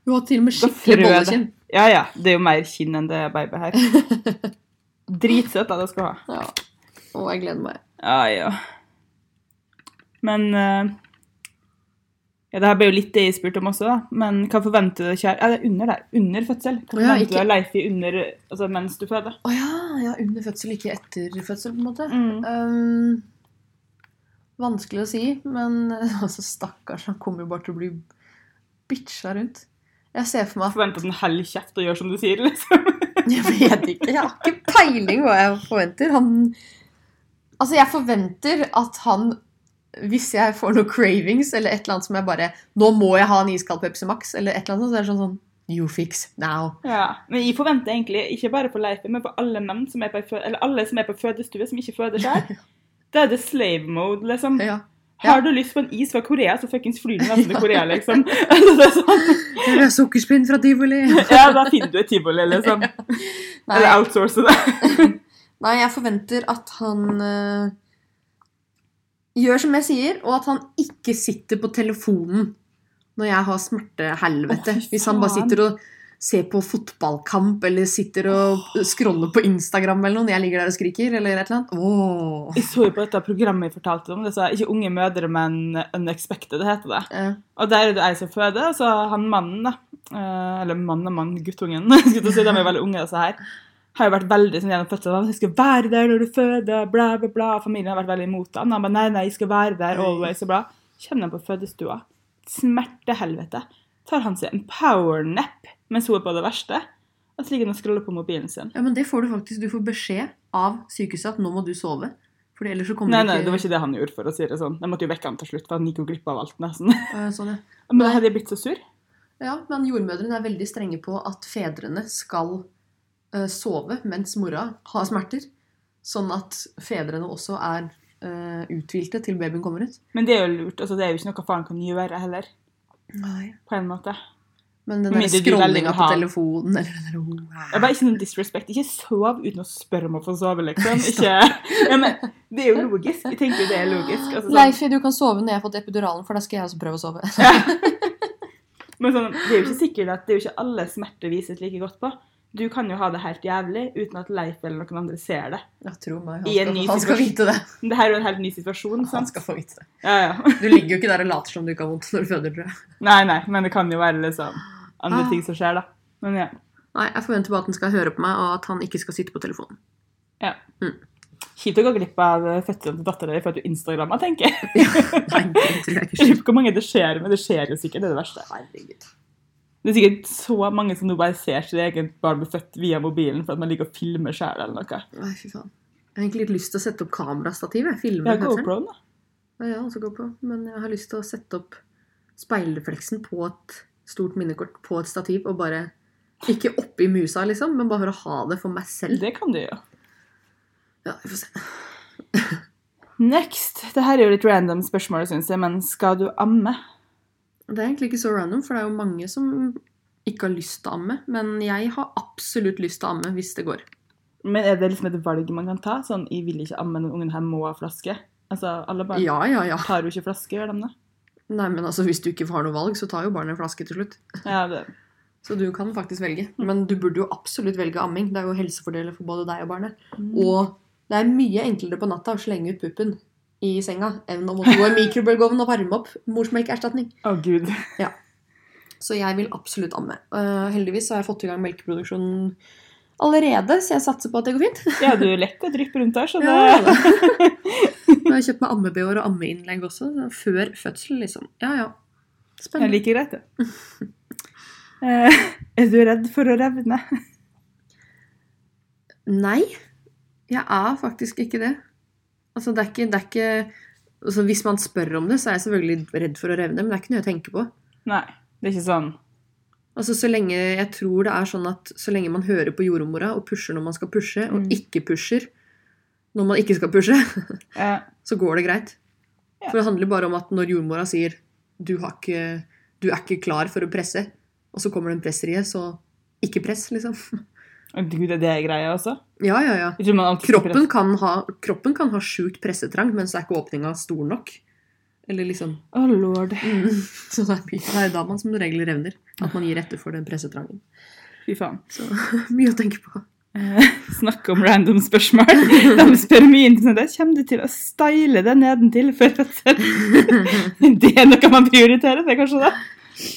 B: Hun har til og med
A: Da frø-
B: skikkelig bollekinn.
A: Ja ja, det er jo mer kinn enn det er baby
B: [LAUGHS]
A: her. Dritsøt da, det skal du ha.
B: Ja. Og jeg gleder meg.
A: Ja ja. Men eh, ja, Det her ble jo litt det jeg spurte om også, da. Men hva forventer du kjære Ja, det er under der. Under fødsel. Hva
B: Å ja,
A: forventer
B: ikke-
A: du av Leif i under Altså mens du føder?
B: Mm. Å ja, ja, under fødsel, ikke etter fødsel, på en måte.
A: Mm.
B: Um, Vanskelig å si, men [LAUGHS] altså, stakkars, han kommer jo bare til å bli bitcha rundt. Jeg ser for meg at
A: Forventer at den holder kjeft og gjør som du sier, liksom.
B: [LAUGHS] Jeg vet ikke. Jeg har ikke peiling hva jeg forventer. Han Altså, jeg forventer at han hvis jeg får noe cravings eller et eller annet som jeg bare Nå må jeg ha en iskald Pepsi Max, eller et eller annet sånt, så er det sånn sånn You fix now.
A: Ja. Men jeg forventer egentlig, ikke bare på Leifen, men på alle menn som er på, ei fø- eller alle som er på fødestue, som ikke føder selv,
B: [LAUGHS]
A: da er det slave mode, liksom.
B: Ja. Ja.
A: Har du lyst på en is fra Korea, så fuckings flyr du nesten til Korea, liksom. [LAUGHS] Altså, det er sånn.
B: Jeg vil ha sukkerspinn fra [LAUGHS] tivoli.
A: Ja, da finner du et tivoli, liksom. Eller
B: Nei,
A: outsource det.
B: nei, jeg forventer at han eh, gjør som jeg sier, og at han ikke sitter på telefonen når jeg har smertehelvete.
A: Å, fy
B: Hvis han bare
A: faen.
B: sitter og ser på fotballkamp, eller sitter og scroller på Instagram eller noe når jeg ligger der og skriker, eller et eller annet. Åh.
A: Jeg så jo på dette programmet jeg fortalte om, det sa ikke unge mødre, men unexpected, det heter det.
B: Eh,
A: Og der er det ei som føder, og så han mannen, da. eh, Eller mann og mann, guttungen. [LAUGHS] skulle jeg til å si, De er veldig unge, disse her. Har jo vært veldig sånn gjennom fødselen. 'Jeg skal være der når du føder', bla, bla, bla. Familien har vært veldig imot han. Han bare 'nei, nei, jeg skal være der always', og bla. Kommer de på fødestua. Smertehelvete. Tar han seg en powernap mens hun er på det verste. Og så ligger han og scroller på mobilen sin.
B: Ja, men det får du faktisk. Du får beskjed av sykehuset at nå må du sove. Fordi ellers så kommer
A: Nei,
B: du
A: nei,
B: ikke
A: det var ikke det han gjorde, for å si det sånn. Jeg måtte jo vekke han til slutt, for han gikk jo glipp av alt, nesten. [LAUGHS]
B: Eh, sånn, ja.
A: Men da hadde jeg blitt så sur.
B: Ja, men jordmødrene er veldig strenge på at fedrene skal eh, sove mens mora har smerter. Sånn at fedrene også er eh, uthvilte til babyen kommer ut.
A: Men det er jo lurt. altså Det er jo ikke noe faren kan gjøre, heller.
B: Nei.
A: På en måte.
B: Men den
A: Men
B: der
A: det du veldig vil
B: scrollinga på
A: ha.
B: telefonen eller [LAUGHS] den der, oh,
A: Jeg bare Ikke noe disrespect. Ikke sov uten å spørre om å få sove, liksom. Ikke, ja, men det er jo logisk. Jeg tenker jo det er logisk. Altså, sånn, [LAUGHS]
B: Leif, du kan sove når jeg har fått epiduralen, for da skal jeg også prøve å sove. [LAUGHS]
A: men sånn, det er jo ikke sikkert at det er jo ikke alle smerter vises like godt på. Du kan jo ha det helt jævlig uten at Leif eller noen andre ser det.
B: Ja, tro meg, han
A: I en
B: skal,
A: ny
B: han skal
A: situasjon.
B: vite det.
A: Men det her er jo en helt ny situasjon.
B: Han
A: sant?
B: Ah, skal få vite det.
A: Ja, ja. [LAUGHS]
B: Du ligger jo ikke der og later som du ikke har vondt når du føder, tror jeg.
A: Nei, nei, men det kan jo være liksom andre
B: Ah.
A: ting som skjer, da. Men ja.
B: Nei, jeg forventer bare at han skal høre på meg, og at han ikke skal sitte på telefonen.
A: ja.
B: Mm.
A: Kjipt å gå glipp av fødselen til dattera di for at du instagrammer, tenker jeg. [LAUGHS]
B: Nei, det tror jeg ikke.
A: Jeg lurer på Hvor mange det skjer, men det skjer jo sikkert. Det er det verste.
B: Herregud.
A: Det er sikkert så mange som nå bare ser sitt eget barn bli født via mobilen for at man ligger og filmer sjæl eller noe.
B: Nei, fy faen. Jeg har egentlig litt lyst til å sette opp kamerastativ. Jeg
A: Ja,
B: filmer fødselen.
A: GoPro-en, da.
B: Ja, jeg har også GoPro. Men jeg har lyst til å sette opp speilrefleksen på et stort minnekort på et stativ og bare Ikke oppi musa, liksom, men bare for å ha det for meg selv.
A: Det kan du jo.
B: Ja, vi får se.
A: Next. Det her er jo litt random spørsmål, syns jeg, men skal du amme?
B: Det er egentlig ikke så random, for det er jo mange som ikke har lyst til å amme. Men jeg har absolutt lyst til å amme hvis det går.
A: Men er det liksom et valg man kan ta? Sånn, jeg vil ikke amme, den ungen her må ha flaske. Altså, alle barn
B: Ja, ja, ja.
A: tar jo ikke flaske, gjør de det?
B: Nei, men altså, hvis du ikke har noe valg, så tar jo barnet en flaske til slutt.
A: Ja, det.
B: Så du kan faktisk velge.
A: Mm.
B: Men du burde jo absolutt velge amming. Det er jo helsefordeler for både deg og barnet.
A: Mm.
B: Og det er mye enklere på natta å slenge ut puppen i senga enn å måtte gå i mikrobølgeovnen og varme opp morsmelkerstatning.
A: Å, gud.
B: Så jeg vil absolutt amme. Eh, heldigvis så har jeg fått i gang melkeproduksjonen allerede, så jeg satser på at det går fint.
A: Ja, du lekker og drypper rundt der, så det
B: [LAUGHS] Ja, da. Nå har jeg kjøpt meg amme-bh-er og ammeinnlegg også, så før fødsel, liksom. Ja, ja.
A: er
B: Spennende.
A: like greit, det. Eh, Er du redd for å revne?
B: Nei, jeg er faktisk ikke det. Altså, det er ikke, det er ikke altså, Hvis man spør om det, så er jeg selvfølgelig redd for å revne, men det er ikke noe jeg tenker på.
A: Nei. Det er ikke sånn
B: Altså, så lenge, jeg tror det er sånn at så lenge man hører på jordmora og pusher når man skal pushe,
A: Mm.
B: og ikke pusher når man ikke skal pushe, [LAUGHS]
A: eh,
B: så går det greit.
A: Ja.
B: For det handler bare om at når jordmora sier du, har ikke, 'du er ikke klar for å presse', og så kommer det en presserie, så ikke press, liksom. [LAUGHS]
A: Å, Gud, er det greia også?
B: Ja, ja, ja.
A: Jeg tror man alltid skal
B: Kroppen kan ha, kroppen kan ha sjukt pressetrang, men så er ikke åpninga stor nok. Eller liksom
A: Å, lord.
B: mm. [LAUGHS] Så det er, det er da man som regel revner. At man gir etter for den pressetrangen. [LAUGHS]
A: Fy faen.
B: Så mye å tenke på. [LAUGHS]
A: Eh, [LAUGHS] Snakk om random spørsmål. De spør mye interessant. Der Kommer du til å style deg nedentil før fødsel? [LAUGHS] Det er noe man prioriterer, det er kanskje det?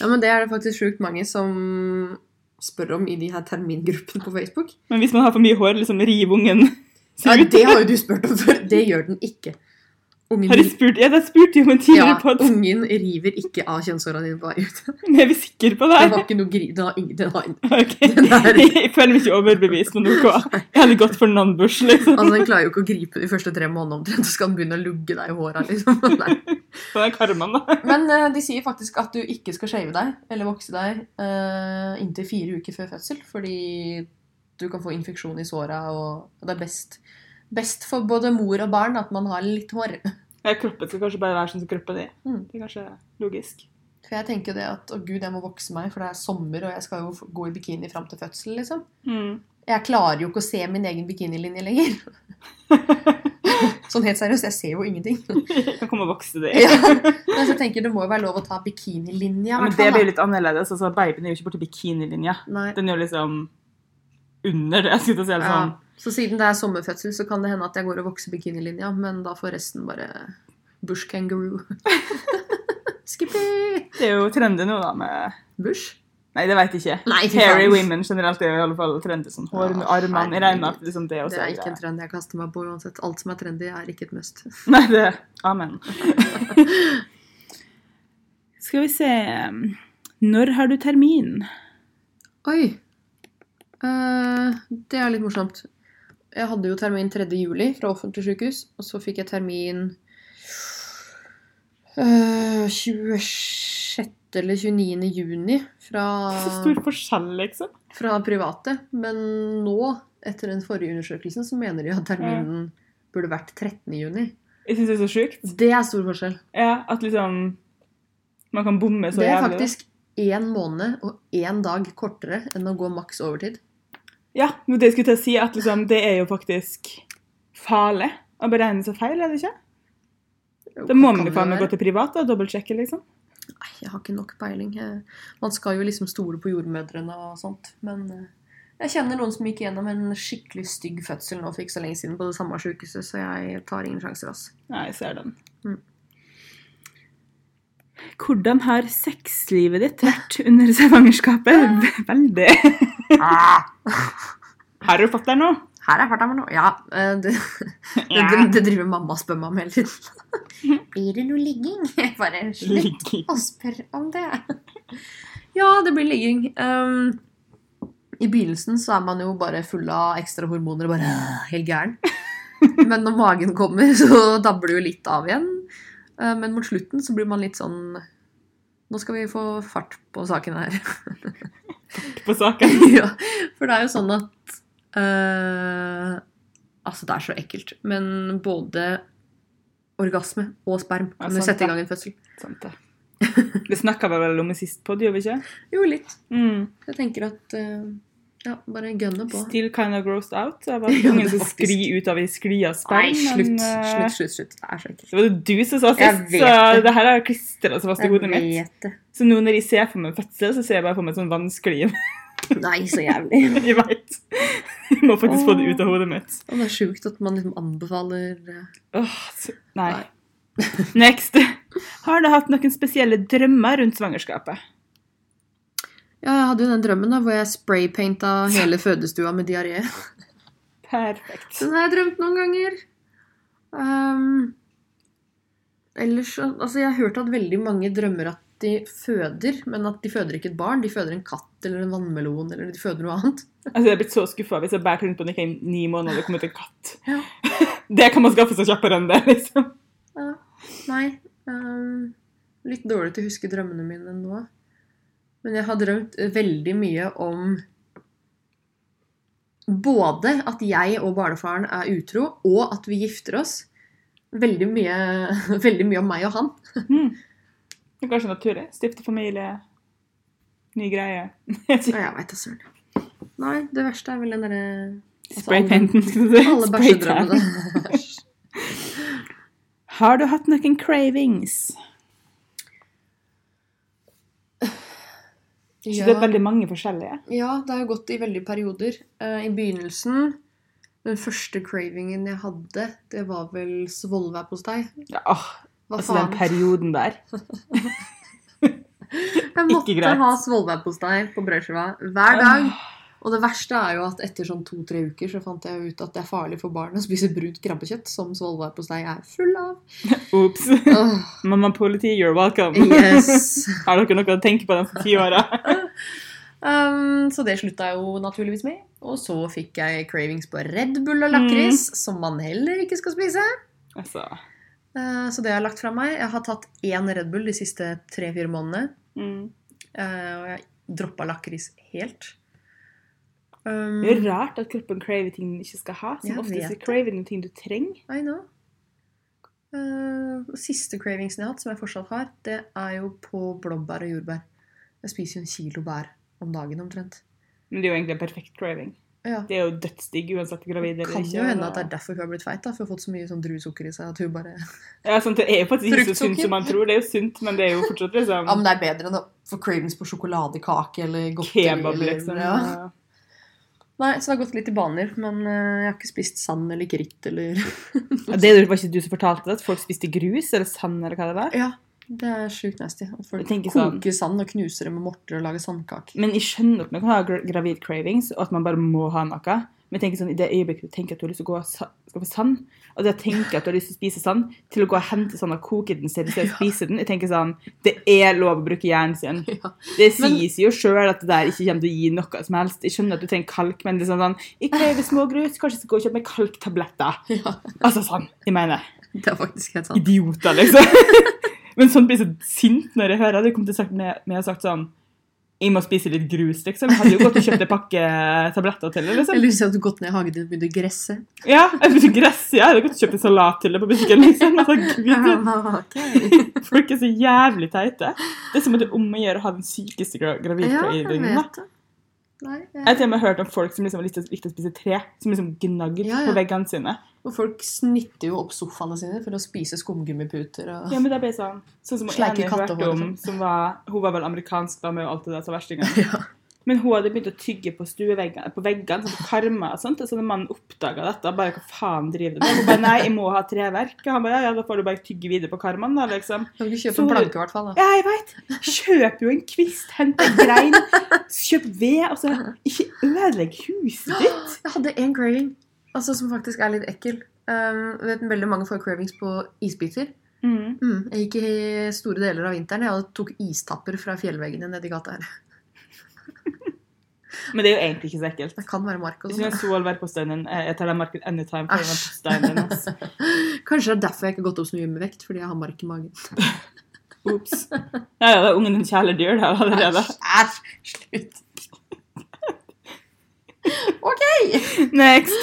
B: Ja, men det er det faktisk sjukt mange som spør om i de her termingruppene på Facebook.
A: Men hvis man har for mye hår, liksom riv ungen.
B: Nei, det har jo du spurt om før! Det gjør den ikke. Ungen,
A: Har jeg spurt? Ja, det spurte jeg om en
B: ja,
A: tidligere podd,
B: ungen river ikke av kjønnshåra dine på vei ut.
A: men er vi sikre på det
B: Det
A: her?
B: var ikke noe gri... Det var ingen, det var ingen.
A: [LAUGHS] Ok,
B: Den der-
A: Jeg føler meg ikke overbevist, men OK. Jeg hadde gått for non-bush,
B: [LAUGHS]
A: liksom.
B: Altså, Den klarer jo ikke å gripe de første tre månedene omtrent, så skal den begynne å lugge deg i håra. Liksom. [LAUGHS] Nei.
A: På den karmen, da.
B: Men eh, de sier faktisk at du ikke skal shave deg eller vokse deg eh, inntil fire uker før fødsel, fordi du kan få infeksjon i såra, og, og det er best, best for både mor og barn at man har litt hår. [LAUGHS]
A: Ja, kroppen skal kanskje bare være sånn som kroppen er.
B: Mm.
A: Det er kanskje logisk.
B: For jeg tenker jo det at å gud, jeg må vokse meg, for det er sommer, og jeg skal jo gå i bikini fram til fødsel, liksom. [LAUGHS]
A: Mm.
B: Jeg klarer jo ikke å se min egen bikinilinje
A: [LAUGHS]
B: lenger. Sånn helt seriøst, jeg ser jo ingenting.
A: Jeg kan komme og vokse det.
B: Ja. [LAUGHS] Men så tenker jeg det må jo være lov å ta bikinilinja, i
A: Men
B: hvert
A: det
B: fall.
A: blir jo litt annerledes. Altså, babyen er jo ikke borti bikinilinja.
B: da. Nei.
A: Den er jo liksom under det. Jeg skulle til å si det
B: Ja.
A: sånn.
B: Så siden det er sommerfødsel, så kan det hende at jeg går og vokser bikinilinja, men da får resten bare bush kangaroo. [LAUGHS] Skippy!
A: Det er jo trendy nå, da, med
B: Bush?
A: Nei, det veit jeg ikke.
B: Nei, fy
A: Hairy
B: faen.
A: women generelt er jo i alle fall trendy. Sånn hår med
B: Ja,
A: armene. Jeg regner med at liksom det
B: Det
A: også
B: er ikke en trend jeg kaster meg på uansett. Alt som er trendy, er ikke et must.
A: [LAUGHS] Nei, det Amen. Skal vi se Når har du termin?
B: Oi! Eh, det er litt morsomt. Jeg hadde jo termin 3. juli fra offentlig sykehus, og så fikk jeg termin eh, 26. eller 29. juni
A: [LAUGHS]
B: fra
A: Så stor forskjell, liksom.
B: fra private, men nå, etter den forrige undersøkelsen, så mener de at terminen burde vært 13. juni.
A: Jeg syns det er så sjukt.
B: Det er stor forskjell.
A: Ja, at liksom Man kan bomme så
B: Det er
A: jævlig. da.
B: faktisk én måned og én dag kortere enn å gå maks overtid.
A: Ja, men det jeg skulle til å si, at liksom, det er jo faktisk farlig å beregne seg feil, er det ikke? Da må man jo faen meg gå til privat og dobbeltsjekke, liksom.
B: Nei, jeg har ikke nok peiling. Jeg- Man skal jo liksom stole på jordmødrene og sånt, men eh, jeg kjenner noen som gikk gjennom en skikkelig stygg fødsel nå for ikke så lenge siden på det samme sykehuset, så jeg tar ingen sjanser, ass.
A: Ja, jeg ser den.
B: Mm.
A: Hvordan har sexlivet ditt vært under svangerskapet? [LAUGHS] Veldig. Har du fått deg [LAUGHS] noe?
B: Ah, Her er farta med noe. Ja, eh, det, det, [LAUGHS] det, det driver mamma og spør meg om hele tiden. Blir det noe ligging? [LAUGHS] Jeg bare slutt
A: Ligger.
B: å spørre om det. [LAUGHS] Ja, det blir ligging. Ehm, I begynnelsen så er man jo bare full av ekstra hormoner og bare øh, helt [LAUGHS] gæren. Men når magen kommer, [LAUGHS] så dabber det jo litt av igjen. Eh, Men mot slutten så blir man litt sånn Nå skal vi få fart på saken her.
A: på saken. [LAUGHS]
B: ja, [LAUGHS] for det er jo sånn at eh, Altså, det er så ekkelt. Men både orgasme og sperm
A: Ja,
B: kan
A: sant
B: jo sette
A: det.
B: i gang en fødsel.
A: Sant det. Det snakka vi vel om i sist podd, gjorde vi ikke?
B: Jo, litt.
A: Mm.
B: Jeg tenker at eh, Ja, bare gønne på.
A: Still kind of grossed out. Det
B: [LAUGHS]
A: var
B: Ja,
A: ingen
B: det er
A: som
B: faktisk-
A: skli ut av ei skli av
B: Nei,
A: sperm.
B: slutt.
A: men, eh,
B: Slutt, slutt, slutt. Det er så ekkelt.
A: Det var det du som sa
B: Jeg
A: sist,
B: vet
A: så
B: det.
A: det her har klistra seg fast i hodet mitt.
B: vet det.
A: Så nå når jeg ser for meg fødsel, så ser jeg bare for meg et sånt vannskli.
B: Nei, så jævlig.
A: [LAUGHS] Jeg vet. Jeg må faktisk få det ut av hodet mitt.
B: Og det er sjukt at man liksom anbefaler eh,
A: Åh, så- nei. [LAUGHS] Next. Har du hatt noen spesielle drømmer rundt svangerskapet?
B: Ja, jeg hadde jo den drømmen da, hvor jeg spraypainta hele fødestua med diaré.
A: Perfekt.
B: Den har jeg drømt noen ganger. Ehm, ellers så Altså, jeg har hørt at veldig mange drømmer at de føder, men at de føder ikke et barn. De føder en katt eller en vannmelon eller de føder noe annet.
A: Altså, jeg er blitt så skuffa hvis jeg bærer rundt på den ikke i ni måneder og kommer til en katt.
B: Ja.
A: [LAUGHS] Det kan man skaffe seg kjappere enn det, liksom.
B: Ja, nei. ehm, litt dårlig til å huske drømmene mine nå. Men jeg har drømt veldig mye om både at jeg og barnefaren er utro, og at vi gifter oss. Veldig mye, [LAUGHS] veldig mye om meg og han.
A: Mm. Det er kanskje naturlig. Stifte familie, ny greie. [LAUGHS]
B: Ja, jeg veit da søren. Nei, det verste er vel den derre altså,
A: Spraypainten, skal du si.
B: Alle,
A: [LAUGHS]
B: alle [LAUGHS]
A: Spraytan.
B: bæsjedrømmene.
A: Har du hatt noen cravings? Så Det er veldig mange forskjellige.
B: Ja, det har jo gått i veldige perioder. Eh, I begynnelsen Den første cravingen jeg hadde, det var vel svolværpostei.
A: Ja, åh,
B: Hva
A: altså den
B: faen?
A: perioden der.
B: Jeg måtte
A: greit.
B: ha svolværpostei på brødskiva hver dag.
A: Åh,
B: Og det verste er jo at etter sånn to-tre uker så fant jeg ut at det er farlig for barn å spise brunt krabbekjøtt, som svolværpostei er full av.
A: [LAUGHS] Ops.
B: Åh,
A: [LAUGHS] Mamma politi, you're welcome.
B: yes.
A: Har dere noe å tenke på de neste ti åra?
B: [LAUGHS] Um, så det slutta jeg jo naturligvis med. Og så fikk jeg cravings på Red Bull
A: Mm.
B: og lakris, som man heller ikke skal spise.
A: Altså.
B: Eh, så det har jeg lagt fra meg. Jeg har tatt én Red Bull de siste tre-fire månedene.
A: Mm.
B: eh, og jeg droppa lakris helt. Um,
A: Det er jo rart at kroppen craver ting den ikke skal ha. Som
B: Jeg
A: oftest
B: vet
A: så craver den ting du trenger.
B: I know. Eh, siste cravingsen jeg har hatt, som jeg fortsatt har, det er jo på blåbær og jordbær. Jeg spiser jo en kilo bær om dagen omtrent.
A: Men det er jo egentlig en perfekt craving.
B: Ja.
A: Det er jo dødsdigg uansett gravid eller
B: Kan
A: ikke.
B: jo hende at det er derfor hun har blitt feit, da, for hun har fått så mye sånn druesukker i seg at hun bare
A: Ja, sant, det er jo faktisk ikke så
B: Fruktsukker.
A: sunt som man tror. Det er jo sunt, men det er jo fortsatt liksom
B: [LAUGHS] Ja, men det er bedre enn å få cravings på sjokoladekake eller godteri.
A: kebab,
B: eller-
A: liksom.
B: Ja. Nei, så det har gått litt i baner, men eh, jeg har ikke spist sand eller kritt eller [LAUGHS]
A: Ja, Det var ikke du som fortalte det, at folk spiste grus eller sand eller hva det var?
B: Ja, det er sjukt nasty. At folk
A: Jeg tenker
B: koker
A: sånn-
B: sand og knuser det med morter og lager sandkaker.
A: Men jeg skjønner at man kan ha gra- gravid cravings, og at man bare må ha noe. Men jeg tenker sånn, i det øyeblikket du tenker at du har lyst til å gå og sa- skaffe sand, og det å tenke at du har lyst til å spise sand, til å gå og hente sand og koke den selv,
B: [LAUGHS]
A: til å spise den, jeg tenker sånn, det er lov å bruke hjernen sin.
B: Ja.
A: Det
B: Men-
A: sies jo selv at det der ikke kommer til å gi noe som helst. Jeg skjønner at du trenger kalk, men liksom sånn, jeg krever smågrus, kanskje jeg skal gå og kjøpe meg kalktabletter.
B: [LAUGHS] Ja,
A: Altså sånn, jeg mener,
B: det er faktisk helt sant.
A: idioter liksom. [LAUGHS] men sånn blir jeg så sint når jeg hører det. Jeg kom til å sagt, med, med å ha sagt sånn, jeg må spise litt grus, liksom. Jeg hadde jo gått og kjøpt en pakke tabletter til det, liksom.
B: Eller hvis jeg hadde gått ned i hagen din og begynt å gresse. [LAUGHS]
A: Ja, jeg spiser gress, ja. Jeg hadde gått og kjøpt en salat til det på butikken. liksom. Altså, gud,
B: Ok.
A: Folk er så jævlig teite. Det er som at det er om å gjøre å ha den sykeste gra
B: Ja, jeg
A: gravidcravingen. da.
B: vet det. Nei,
A: jeg har
B: jeg...
A: til og med hørt om folk som liksom likte, likte å spise tre, som liksom gnagd
B: Ja, ja.
A: på veggene sine.
B: Og folk snitter jo opp sofaene sine for å spise skumgummiputer og
A: Ja, men da ble jeg sånn, sånn som
B: Sleike
A: Ene hørte
B: kattehår,
A: om,
B: liksom.
A: som var, hun var vel amerikansk da med alt det der som verstingen.
B: Ja.
A: Men hun hadde begynt å tygge på stueveggene, på veggene, sånn på karma og sånt, og så når mannen oppdaget dette, bare hva faen driver du med? Hun bare, nei, jeg må ha treverk. Og han bare, ja, ja, da får du bare tygge videre på karmaen da, liksom.
B: Kan du ikke kjøpe
A: Så-
B: en planke, i hvert fall? da?
A: Ja, jeg veit. Kjøp jo en kvist, hent en grein, kjøp ved. Altså, ikke ødelegg huset ditt.
B: Jeg hadde en craving altså, som faktisk er litt ekkel. Um, vet, veldig mange får cravings på isbiter. Mm, jeg gikk i store deler av vinteren jeg tok istapper fra fjellveggene nedi gata her.
A: Men det er jo egentlig ikke så ekkelt.
B: Det kan være mark og
A: Jeg
B: sånn.
A: synes solbærposteien din eh, Jeg tar den marken anytime. for den
B: Æsj.
A: posteien din, ass.
B: Kanskje det er derfor jeg ikke har gått opp så mye med vekt, fordi jeg har mark i magen.
A: Ops. Ja, ja, det er ungen din kjæledyr der allerede.
B: Æsj! Slutt. OK!
A: [LAUGHS] Next.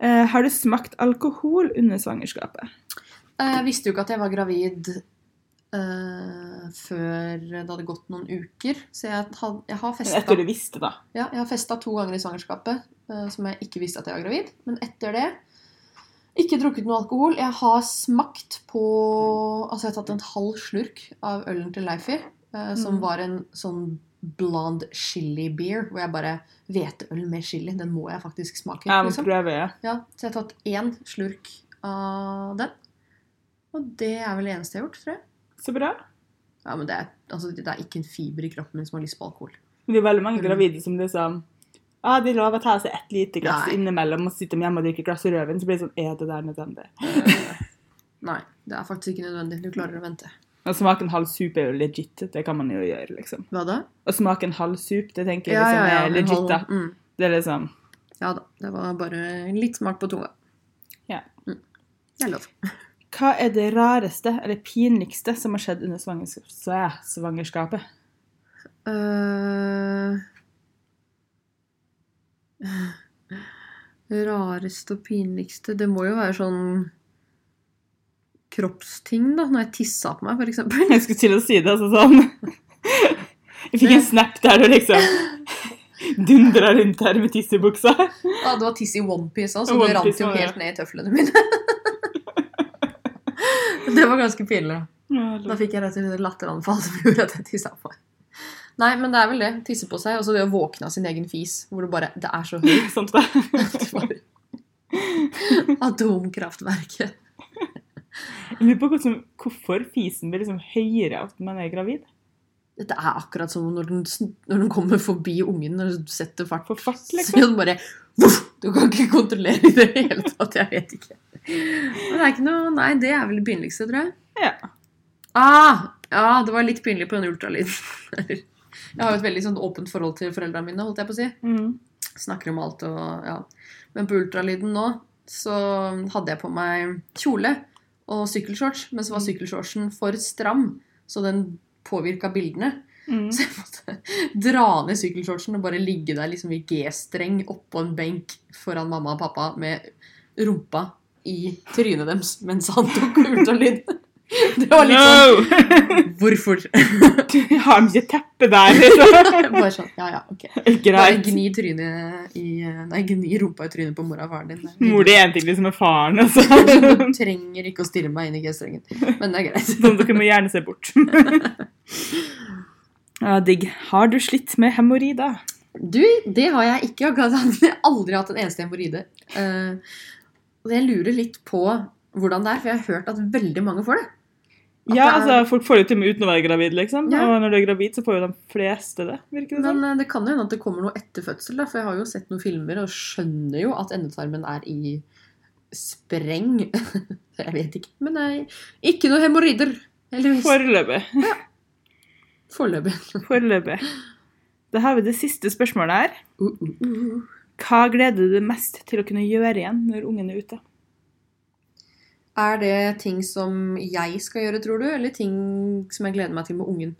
A: Eh, har du smakt alkohol under svangerskapet?
B: Jeg Eh, visste jo ikke at jeg var gravid eh, før det hadde gått noen uker. Så jeg, had, jeg har festa
A: Etter du visste, da.
B: ja, jeg har festet to ganger i svangerskapet eh, som jeg ikke visste at jeg var gravid. Men etter det ikke drukket noe alkohol. Jeg har smakt på Altså, jeg har tatt en halv slurk av ølen til Leifi, eh, som
A: Mm.
B: var en sånn blond chili beer, hvor jeg bare Hveteøl med chili, den må jeg faktisk smake.
A: Jeg må
B: liksom.
A: prøve, ja.
B: Ja, så jeg har tatt én slurk av den. Og det er vel det eneste jeg har gjort, tror jeg.
A: Så bra.
B: Ja, men det er, altså, det er ikke en fiber i kroppen min som har lyst på alkohol.
A: Men det er veldig mange
B: Mm.
A: gravide som liksom ah, De lover å ta seg ett lite glass
B: Nei.
A: innimellom, og så sitter de hjemme og drikker et glass rødvin. Så blir det sånn Er det der nødvendig?
B: Nei, det er faktisk ikke nødvendig. Du klarer å vente.
A: Å smake en halv sup er jo legit. Det kan man jo gjøre, liksom.
B: Hva da?
A: Å smake en halv sup, det tenker jeg liksom er
B: men
A: legit,
B: hold-
A: da.
B: Mm.
A: Det er liksom
B: Ja da. Det var bare litt smak på tunga.
A: Ja.
B: Mm. Det er lov.
A: Hva er det rareste eller pinligste som har skjedd under svangerskap, svæ- svangerskapet?
B: Eh, Det [SIGHS] rareste og pinligste Det må jo være sånn kroppsting, da. Når jeg tissa på meg, for [LAUGHS] eksempel.
A: [LAUGHS] Jeg skulle til å si det, altså sånn Jeg fikk en snap der du liksom dundra rundt her med tiss i buksa.
B: Ja, det var tiss i onepiece òg, så
A: One
B: det rant
A: Piece
B: jo
A: var det.
B: helt ned i tøflene mine. [LAUGHS] det var ganske pinlig. da. Da fikk jeg rett og slett et latteranfall som [LAUGHS] gjorde at jeg tissa på meg. Nei, men det er vel det. Tisse på seg, og så det å våkne av sin egen fis. Hvor det bare Det er så høyt. [LAUGHS]
A: Sånt da.
B: Det var- Atomkraftverket.
A: Jeg lurer på hvordan, hvorfor fisen blir liksom høyere at man er gravid.
B: Dette er akkurat som når den, sn- når den kommer forbi ungen og setter fart.
A: For fart,
B: Så
A: liksom.
B: den bare voff, Du kan ikke kontrollere i det hele tatt. Jeg vet ikke. Men det er ikke noe Nei, det er vel det pinligste, tror jeg.
A: Ja.
B: Ah, ja, det var litt pinlig på den ultralyden. [LAUGHS] Jeg har jo et veldig sånn åpent forhold til foreldrene mine, holdt jeg på å si.
A: Mm.
B: Snakker om alt og ja. Men på ultralyden nå så hadde jeg på meg kjole og sykkelshorts, men så var sykkelshortsen for stram, så den påvirka bildene. [LAUGHS]
A: Mm.
B: Så jeg måtte dra ned sykkelshortsen og bare ligge der liksom i G-streng oppå en benk foran mamma og pappa med rumpa i trynet deres mens han tok ultralyd. [LAUGHS] Det var litt sånn Hvorfor?
A: [LAUGHS]
B: [LAUGHS]
A: Du har ikke teppe der, [LAUGHS] liksom.
B: Bare sånn, ja ja, ok. Bare
A: Greit.
B: gni, trynet i, nei, gni rumpa i trynet på mora og faren din. Det er hyggelig.
A: Mor det er en ting liksom med faren, [LAUGHS] altså.
B: Du trenger ikke å stirre meg inn i G-strengen. Men det er greit.
A: Sånn dere må gjerne se bort. [LAUGHS] Ja, digg. Har du slitt med hemoroider?
B: Du, det har jeg ikke. Jeg har aldri hatt en eneste hemoroide. Eh, Og jeg lurer litt på hvordan det er, for jeg har hørt at veldig mange får det. At
A: Ja,
B: det er-
A: altså, folk får det jo til og med uten å være gravid, liksom.
B: Ja.
A: Og når du er gravid, så får jo de fleste det, virker det
B: Men
A: sånn.
B: eh, det kan jo hende at det kommer noe etter fødsel, da, for jeg har jo sett noen filmer og skjønner jo at endetarmen er i spreng. [LAUGHS] Jeg vet ikke. Men nei, ikke noe hemoroider. Heldigvis.
A: Foreløpig.
B: Foreløpig.
A: Foreløpig. Da har vi det siste spørsmålet her.
B: Uh, uh, uh.
A: Hva gleder du deg mest til å kunne gjøre igjen når ungen er ute?
B: Er det ting som jeg skal gjøre, tror du, eller ting som jeg gleder meg til med ungen?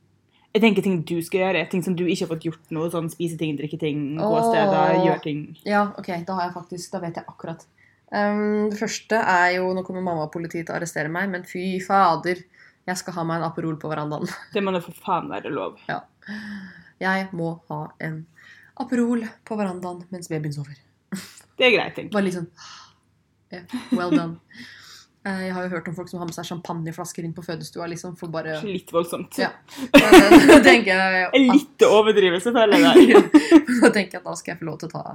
A: Jeg tenker ting du skal gjøre, ting som du ikke har fått gjort noe, sånn spise ting, drikke ting, gå
B: Åh.
A: steder, gjøre ting.
B: Ja, ok, da har jeg faktisk, da vet jeg akkurat. Ehm, det første er jo, nå kommer mamma og politiet til å arrestere meg, men fy fader, jeg skal ha meg en Aperol på verandaen.
A: Det må da for faen være lov.
B: Jeg må ha en Aperol på verandaen mens babyen sover.
A: Det er greit, tenker jeg.
B: Bare litt sånn, ja, well done. [LAUGHS] Eh, jeg har jo hørt om folk som har med seg champagneflasker inn på fødestua, liksom, for bare...
A: Kanskje Litt voldsomt.
B: Ja. [LAUGHS] Da tenker
A: [LAUGHS]
B: jeg...
A: En litt overdrivelse, føler
B: [LAUGHS]
A: jeg. der.
B: da tenker jeg at da skal jeg få lov til å ta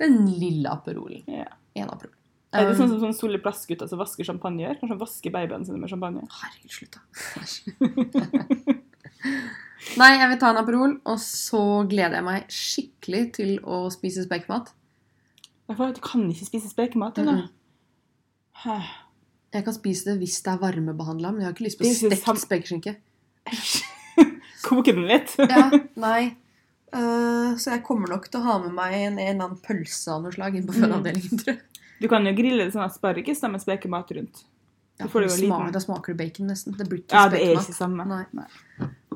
B: den lille Aperolen.
A: Ja.
B: En Aperol.
A: Er det
B: Um,
A: sånn som sånn Solli Plass-gutta som vasker champagne gjør? Kanskje han vasker babyene sine med champagne?
B: Herregud, slutt, da. Æsj. Nei, jeg vil ta en Aperol, og så gleder jeg meg skikkelig til å spise spekemat.
A: Jeg får- Du kan ikke spise spekemat, du,
B: Mm-mm.
A: nå. Hæ.
B: Jeg kan spise det hvis det er varmebehandla, men jeg har ikke lyst på
A: Det er jo
B: stekt
A: sam-
B: spekeskinke.
A: Æsj. Koke den litt. [LAUGHS]
B: Ja, nei. Eh, så jeg kommer nok til å ha med meg en, en eller annen pølse av noe slag inn på
A: Mm.
B: fødeavdelingen, tror jeg.
A: Du kan jo grille sånn asparges da, med spekemat rundt.
B: Ja,
A: Da får du
B: det
A: jo en liten-
B: smaker- Da smaker det bacon, nesten. Det blir ikke
A: Ja, det er
B: spekemat.
A: ikke samme.
B: Nei.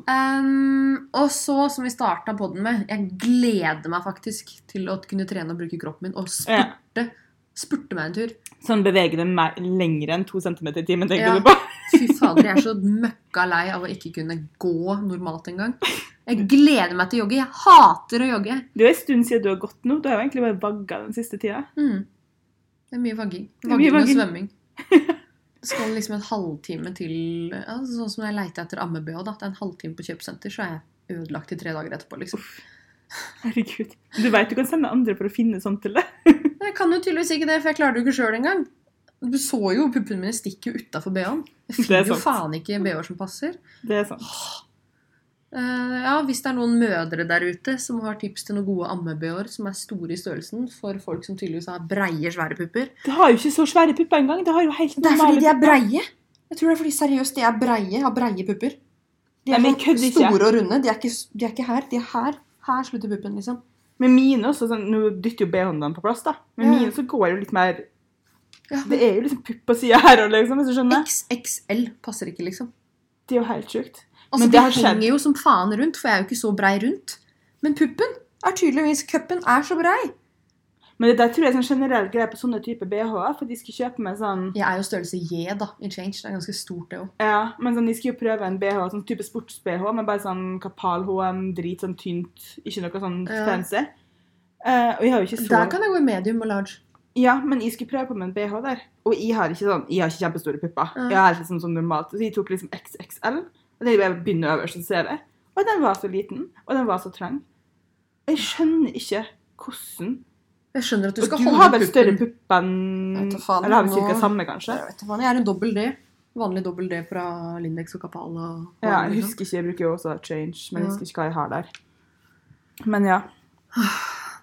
B: Ehm, og så, som vi starta podden med, jeg gleder meg faktisk til å kunne trene og bruke kroppen min og
A: Ja.
B: spurte, spurte meg en tur.
A: Sånn beveger den mer, lenger enn to centimeter i timen, tenker
B: Ja.
A: du på? [LAUGHS]
B: Fy fader, jeg er så møkka lei av å ikke kunne gå normalt engang. Jeg gleder meg til å jogge. Jeg hater å jogge.
A: Det er jo en stund siden du har gått nå. Du har jo egentlig bare vagga den siste tida.
B: Mm. Det er mye vagging.
A: er
B: Vagging
A: mye
B: og
A: vagging.
B: svømming.
A: [LAUGHS]
B: Det skal liksom en halvtime til ja, Sånn som jeg leita etter amme-BH. da. Det er en halvtime på kjøpesenter, så er jeg ødelagt i tre dager etterpå. liksom.
A: Herregud. Du veit du kan sende andre for å finne sånt til deg.
B: Nei, Jeg kan jo tydeligvis ikke det, for jeg klarer det jo ikke sjøl engang. Du så jo puppene mine stikke utafor BH-en. Jeg
A: Det
B: finner
A: er
B: jo
A: sant.
B: faen ikke BH-er som passer.
A: [LAUGHS] Det er sånn. sant.
B: Eh, ja, Hvis det er noen mødre der ute som har tips til noen gode amme-BH-er som er store i størrelsen for folk som tydeligvis har breie, svære pupper
A: Det har jo ikke så svære pupper engang. Det har jo helt normale pupper.
B: breie. Jeg tror det er fordi seriøst de er breie, har breie pupper. De
A: Nei, men jeg kødder ikke.
B: og runde. De er, ikke, de er ikke her. De er her. Her slutter puppen, liksom.
A: Men mine også, sånn, Nå dytter jo BH-en dem på plass, da. Men
B: Ja.
A: mine så går jo litt mer
B: Ja,
A: Det er jo liksom pupp på sida her òg, liksom, hvis du skjønner.
B: XXL passer ikke, liksom.
A: Det er jo helt sjukt.
B: Altså,
A: Men
B: det
A: det har skjedd.
B: henger jo som faen rundt, for jeg er jo ikke så brei rundt. Men puppen er tydeligvis Cupen er så brei.
A: Men det der tror jeg er sånn generell greie på sånne typer BH-er, for de skulle kjøpe meg sånn
B: Jeg er jo størrelse J da, i Change. Det er ganske stort, det òg.
A: Ja, men sånn, de skulle jo prøve en BH, sånn type sports-BH, men bare sånn kapal-HM, drit, sånn tynt, ikke noe sånn
B: Ja.
A: fancy. Eh, og jeg har jo ikke så
B: Der kan jeg gå i medium og large.
A: Ja, men jeg skulle prøve på meg en BH der. Og jeg har ikke, sånn, jeg har ikke kjempestore pupper.
B: Mm.
A: Jeg er liksom sånn normalt. Så jeg tok liksom XXL. Og det er jo jeg begynner øverst og ser det. Og den var så liten, og den var så trang. Og Jeg skjønner ikke hvordan
B: Jeg skjønner at du
A: Og
B: skal
A: du
B: holde
A: har vel
B: puppen.
A: større pupp enn
B: Jeg vet da faen,
A: Eller har vi
B: nå-
A: cirka samme, kanskje?
B: Jeg vet da faen, jeg er en dobbel D. Vanlig dobbel D fra Lindex og Kapal. Og
A: Ja, jeg husker ikke, jeg bruker jo også change, men jeg
B: Ja.
A: husker ikke hva jeg har der. Men ja,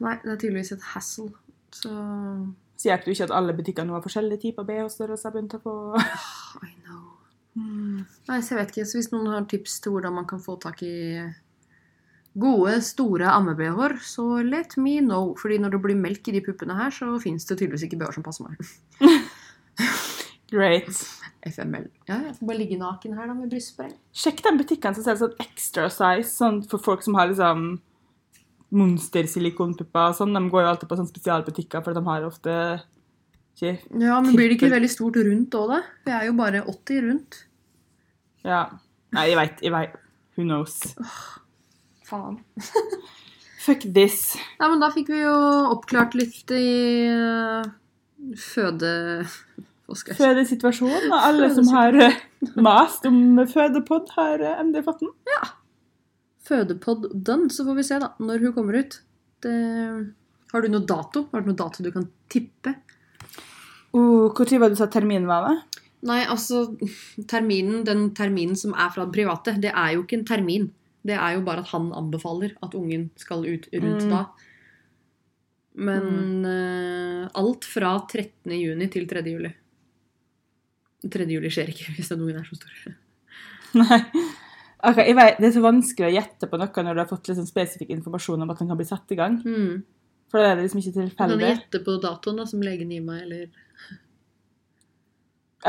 B: Nei, det er tydeligvis et hassle. Så
A: så hjelper det jo ikke at alle butikker nå har forskjellige typer BH-størrelser bunta på.
B: I know. Nei, så jeg vet ikke. Så hvis noen har tips til hvordan man kan få tak i gode, store amme-BH-er, så let me know. Fordi når det blir melk i de puppene her, så fins det tydeligvis ikke BH-er som passer meg. [LAUGHS]
A: Great.
B: FML. Ja, jeg får bare ligge naken her da med brystspray.
A: Sjekk den butikken som selger sånn extra size, sånn for folk som har liksom monstersilikonpupper og sånn. De går jo alltid på sånne spesialbutikker, for de har ofte ikke
B: Ja, men blir det ikke veldig stort rundt òg, da? Vi er jo bare 80 rundt.
A: Ja. Nei, jeg veit. Jeg veit. Who knows?
B: Faen.
A: Fuck this.
B: Nei, men da fikk vi jo oppklart litt i eh, føde... [LAUGHS] Hva skal jeg si?
A: Fødesituasjonen, og alle som har eh, mast om fødepod, har eh, endelig fått den.
B: Fødepod done, så får vi se da, når hun kommer ut. Det... Har du noe dato? Har du noe dato du kan tippe?
A: Uh, Når var det du sa terminen var? da? [LAUGHS]
B: Nei, altså, terminen, den terminen som er fra det private, det er jo ikke en termin. Det er jo bare at han anbefaler at ungen skal ut rundt
A: Mm.
B: da. Men eh, alt fra 13. juni til 3. juli. 3. juli skjer ikke [LAUGHS] hvis den ungen er så stor.
A: Nei. Ok, jeg vet, Det er så vanskelig å gjette på noe når du har fått liksom spesifikk informasjon om at den kan bli satt i gang.
B: Mm.
A: For da er det liksom ikke
B: Kan
A: tilfeldig.
B: jeg gjette på datoen da, som legen gir meg, eller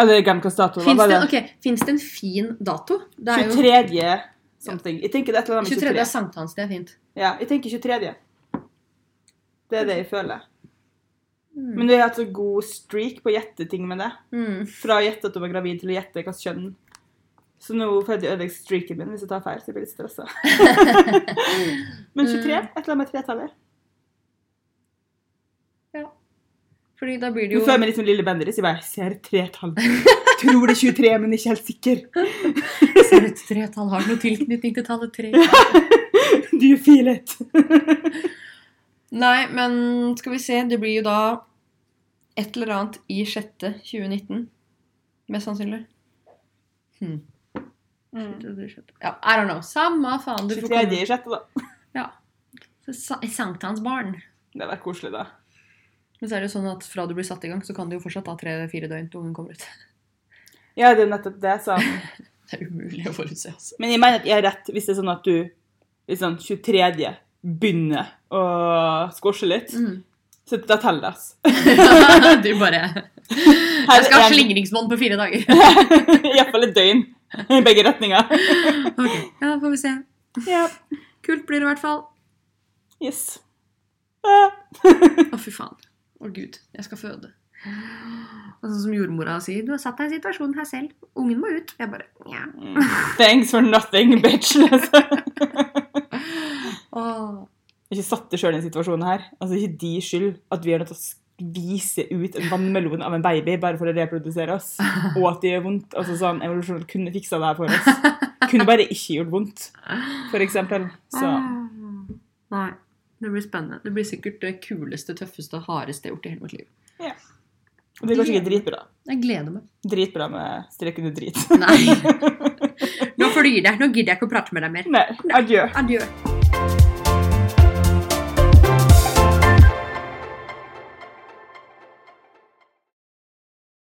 A: Eller jeg glemte hva datoen var.
B: Fins det,
A: bare
B: ok, finnes det en fin dato? Det er jo
A: 23. something. Jeg tenker det er et eller annet med
B: 23.
A: 23.
B: er sankthans, det er fint.
A: Ja, jeg tenker 23. Det er det jeg føler.
B: Mm.
A: Men du har hatt så god streak på å gjette ting med det.
B: Mm.
A: Fra å gjette at du var gravid, til å gjette hvilket kjønn. Så nå får jeg ødelegge streaken min hvis jeg tar feil, så jeg blir litt stressa. Men 23? Et eller annet med tretallet.
B: Fordi da blir det
A: Du
B: jo
A: føler meg litt som liksom lille Bendriss. Jeg bare ser tretallet. Tror det er 23, men ikke helt sikker.
B: [LAUGHS] Ser ut til tretall har noe tilknytning til tallet tre.
A: Do you feel it?
B: Nei, men skal vi se. Det blir jo da et eller annet i sjette 2019. Mest sannsynlig. Hmm. Mm.
A: Mm.
B: Ja, I don't know. Samme faen. Du får
A: 23.
B: komme.
A: i sjette, da.
B: Sa- Sankthansbarn.
A: Det hadde vært koselig, da.
B: Men så er det jo sånn at fra du blir satt i gang, så kan det jo fortsatt ta tre-fire døgn til ungen kommer ut. [LAUGHS]
A: Ja, det er jo nettopp det, så
B: Det er umulig å forutse, altså.
A: Men jeg mener at jeg har rett hvis det er sånn at du liksom 23. begynner å squashe litt.
B: Mm.
A: Så da teller det.
B: [LAUGHS] du bare
A: altså.
B: Jeg skal ha
A: er en-
B: slingringsmonn på fire dager.
A: [LAUGHS]
B: [LAUGHS]
A: i hvert fall et døgn. I begge retninger.
B: ok, Ja, får vi se.
A: Ja.
B: Kult blir det i hvert fall.
A: Yes. Ah.
B: Å, fy faen. Å, gud. Jeg skal føde. Og sånn som jordmora sier, du har satt deg i situasjonen her selv. Ungen må ut. Jeg bare ja.
A: Mm. Thanks for nothing, bitch. Altså. Ikke satt deg sjøl i den situasjonen her. Altså, ikke de skyld at vi er nødt til å skvise ut en vannmelon av en baby bare for å reprodusere oss, og at det gjør vondt. Altså sånn, Evolusjonen kunne fiksa det her for oss. Kunne bare ikke gjort vondt, for eksempel. Så
B: Ah. Nei. Det blir spennende. Det blir sikkert det kuleste, tøffeste, hardeste jeg har gjort i hele mitt liv.
A: og det går sikkert dritbra.
B: Jeg gleder meg.
A: Dritbra med strek under drit. [LAUGHS]
B: [LAUGHS] Nei. Nå flyr det. Nå gidder jeg ikke å prate med deg mer.
A: Nei, adjø.
B: Adjø.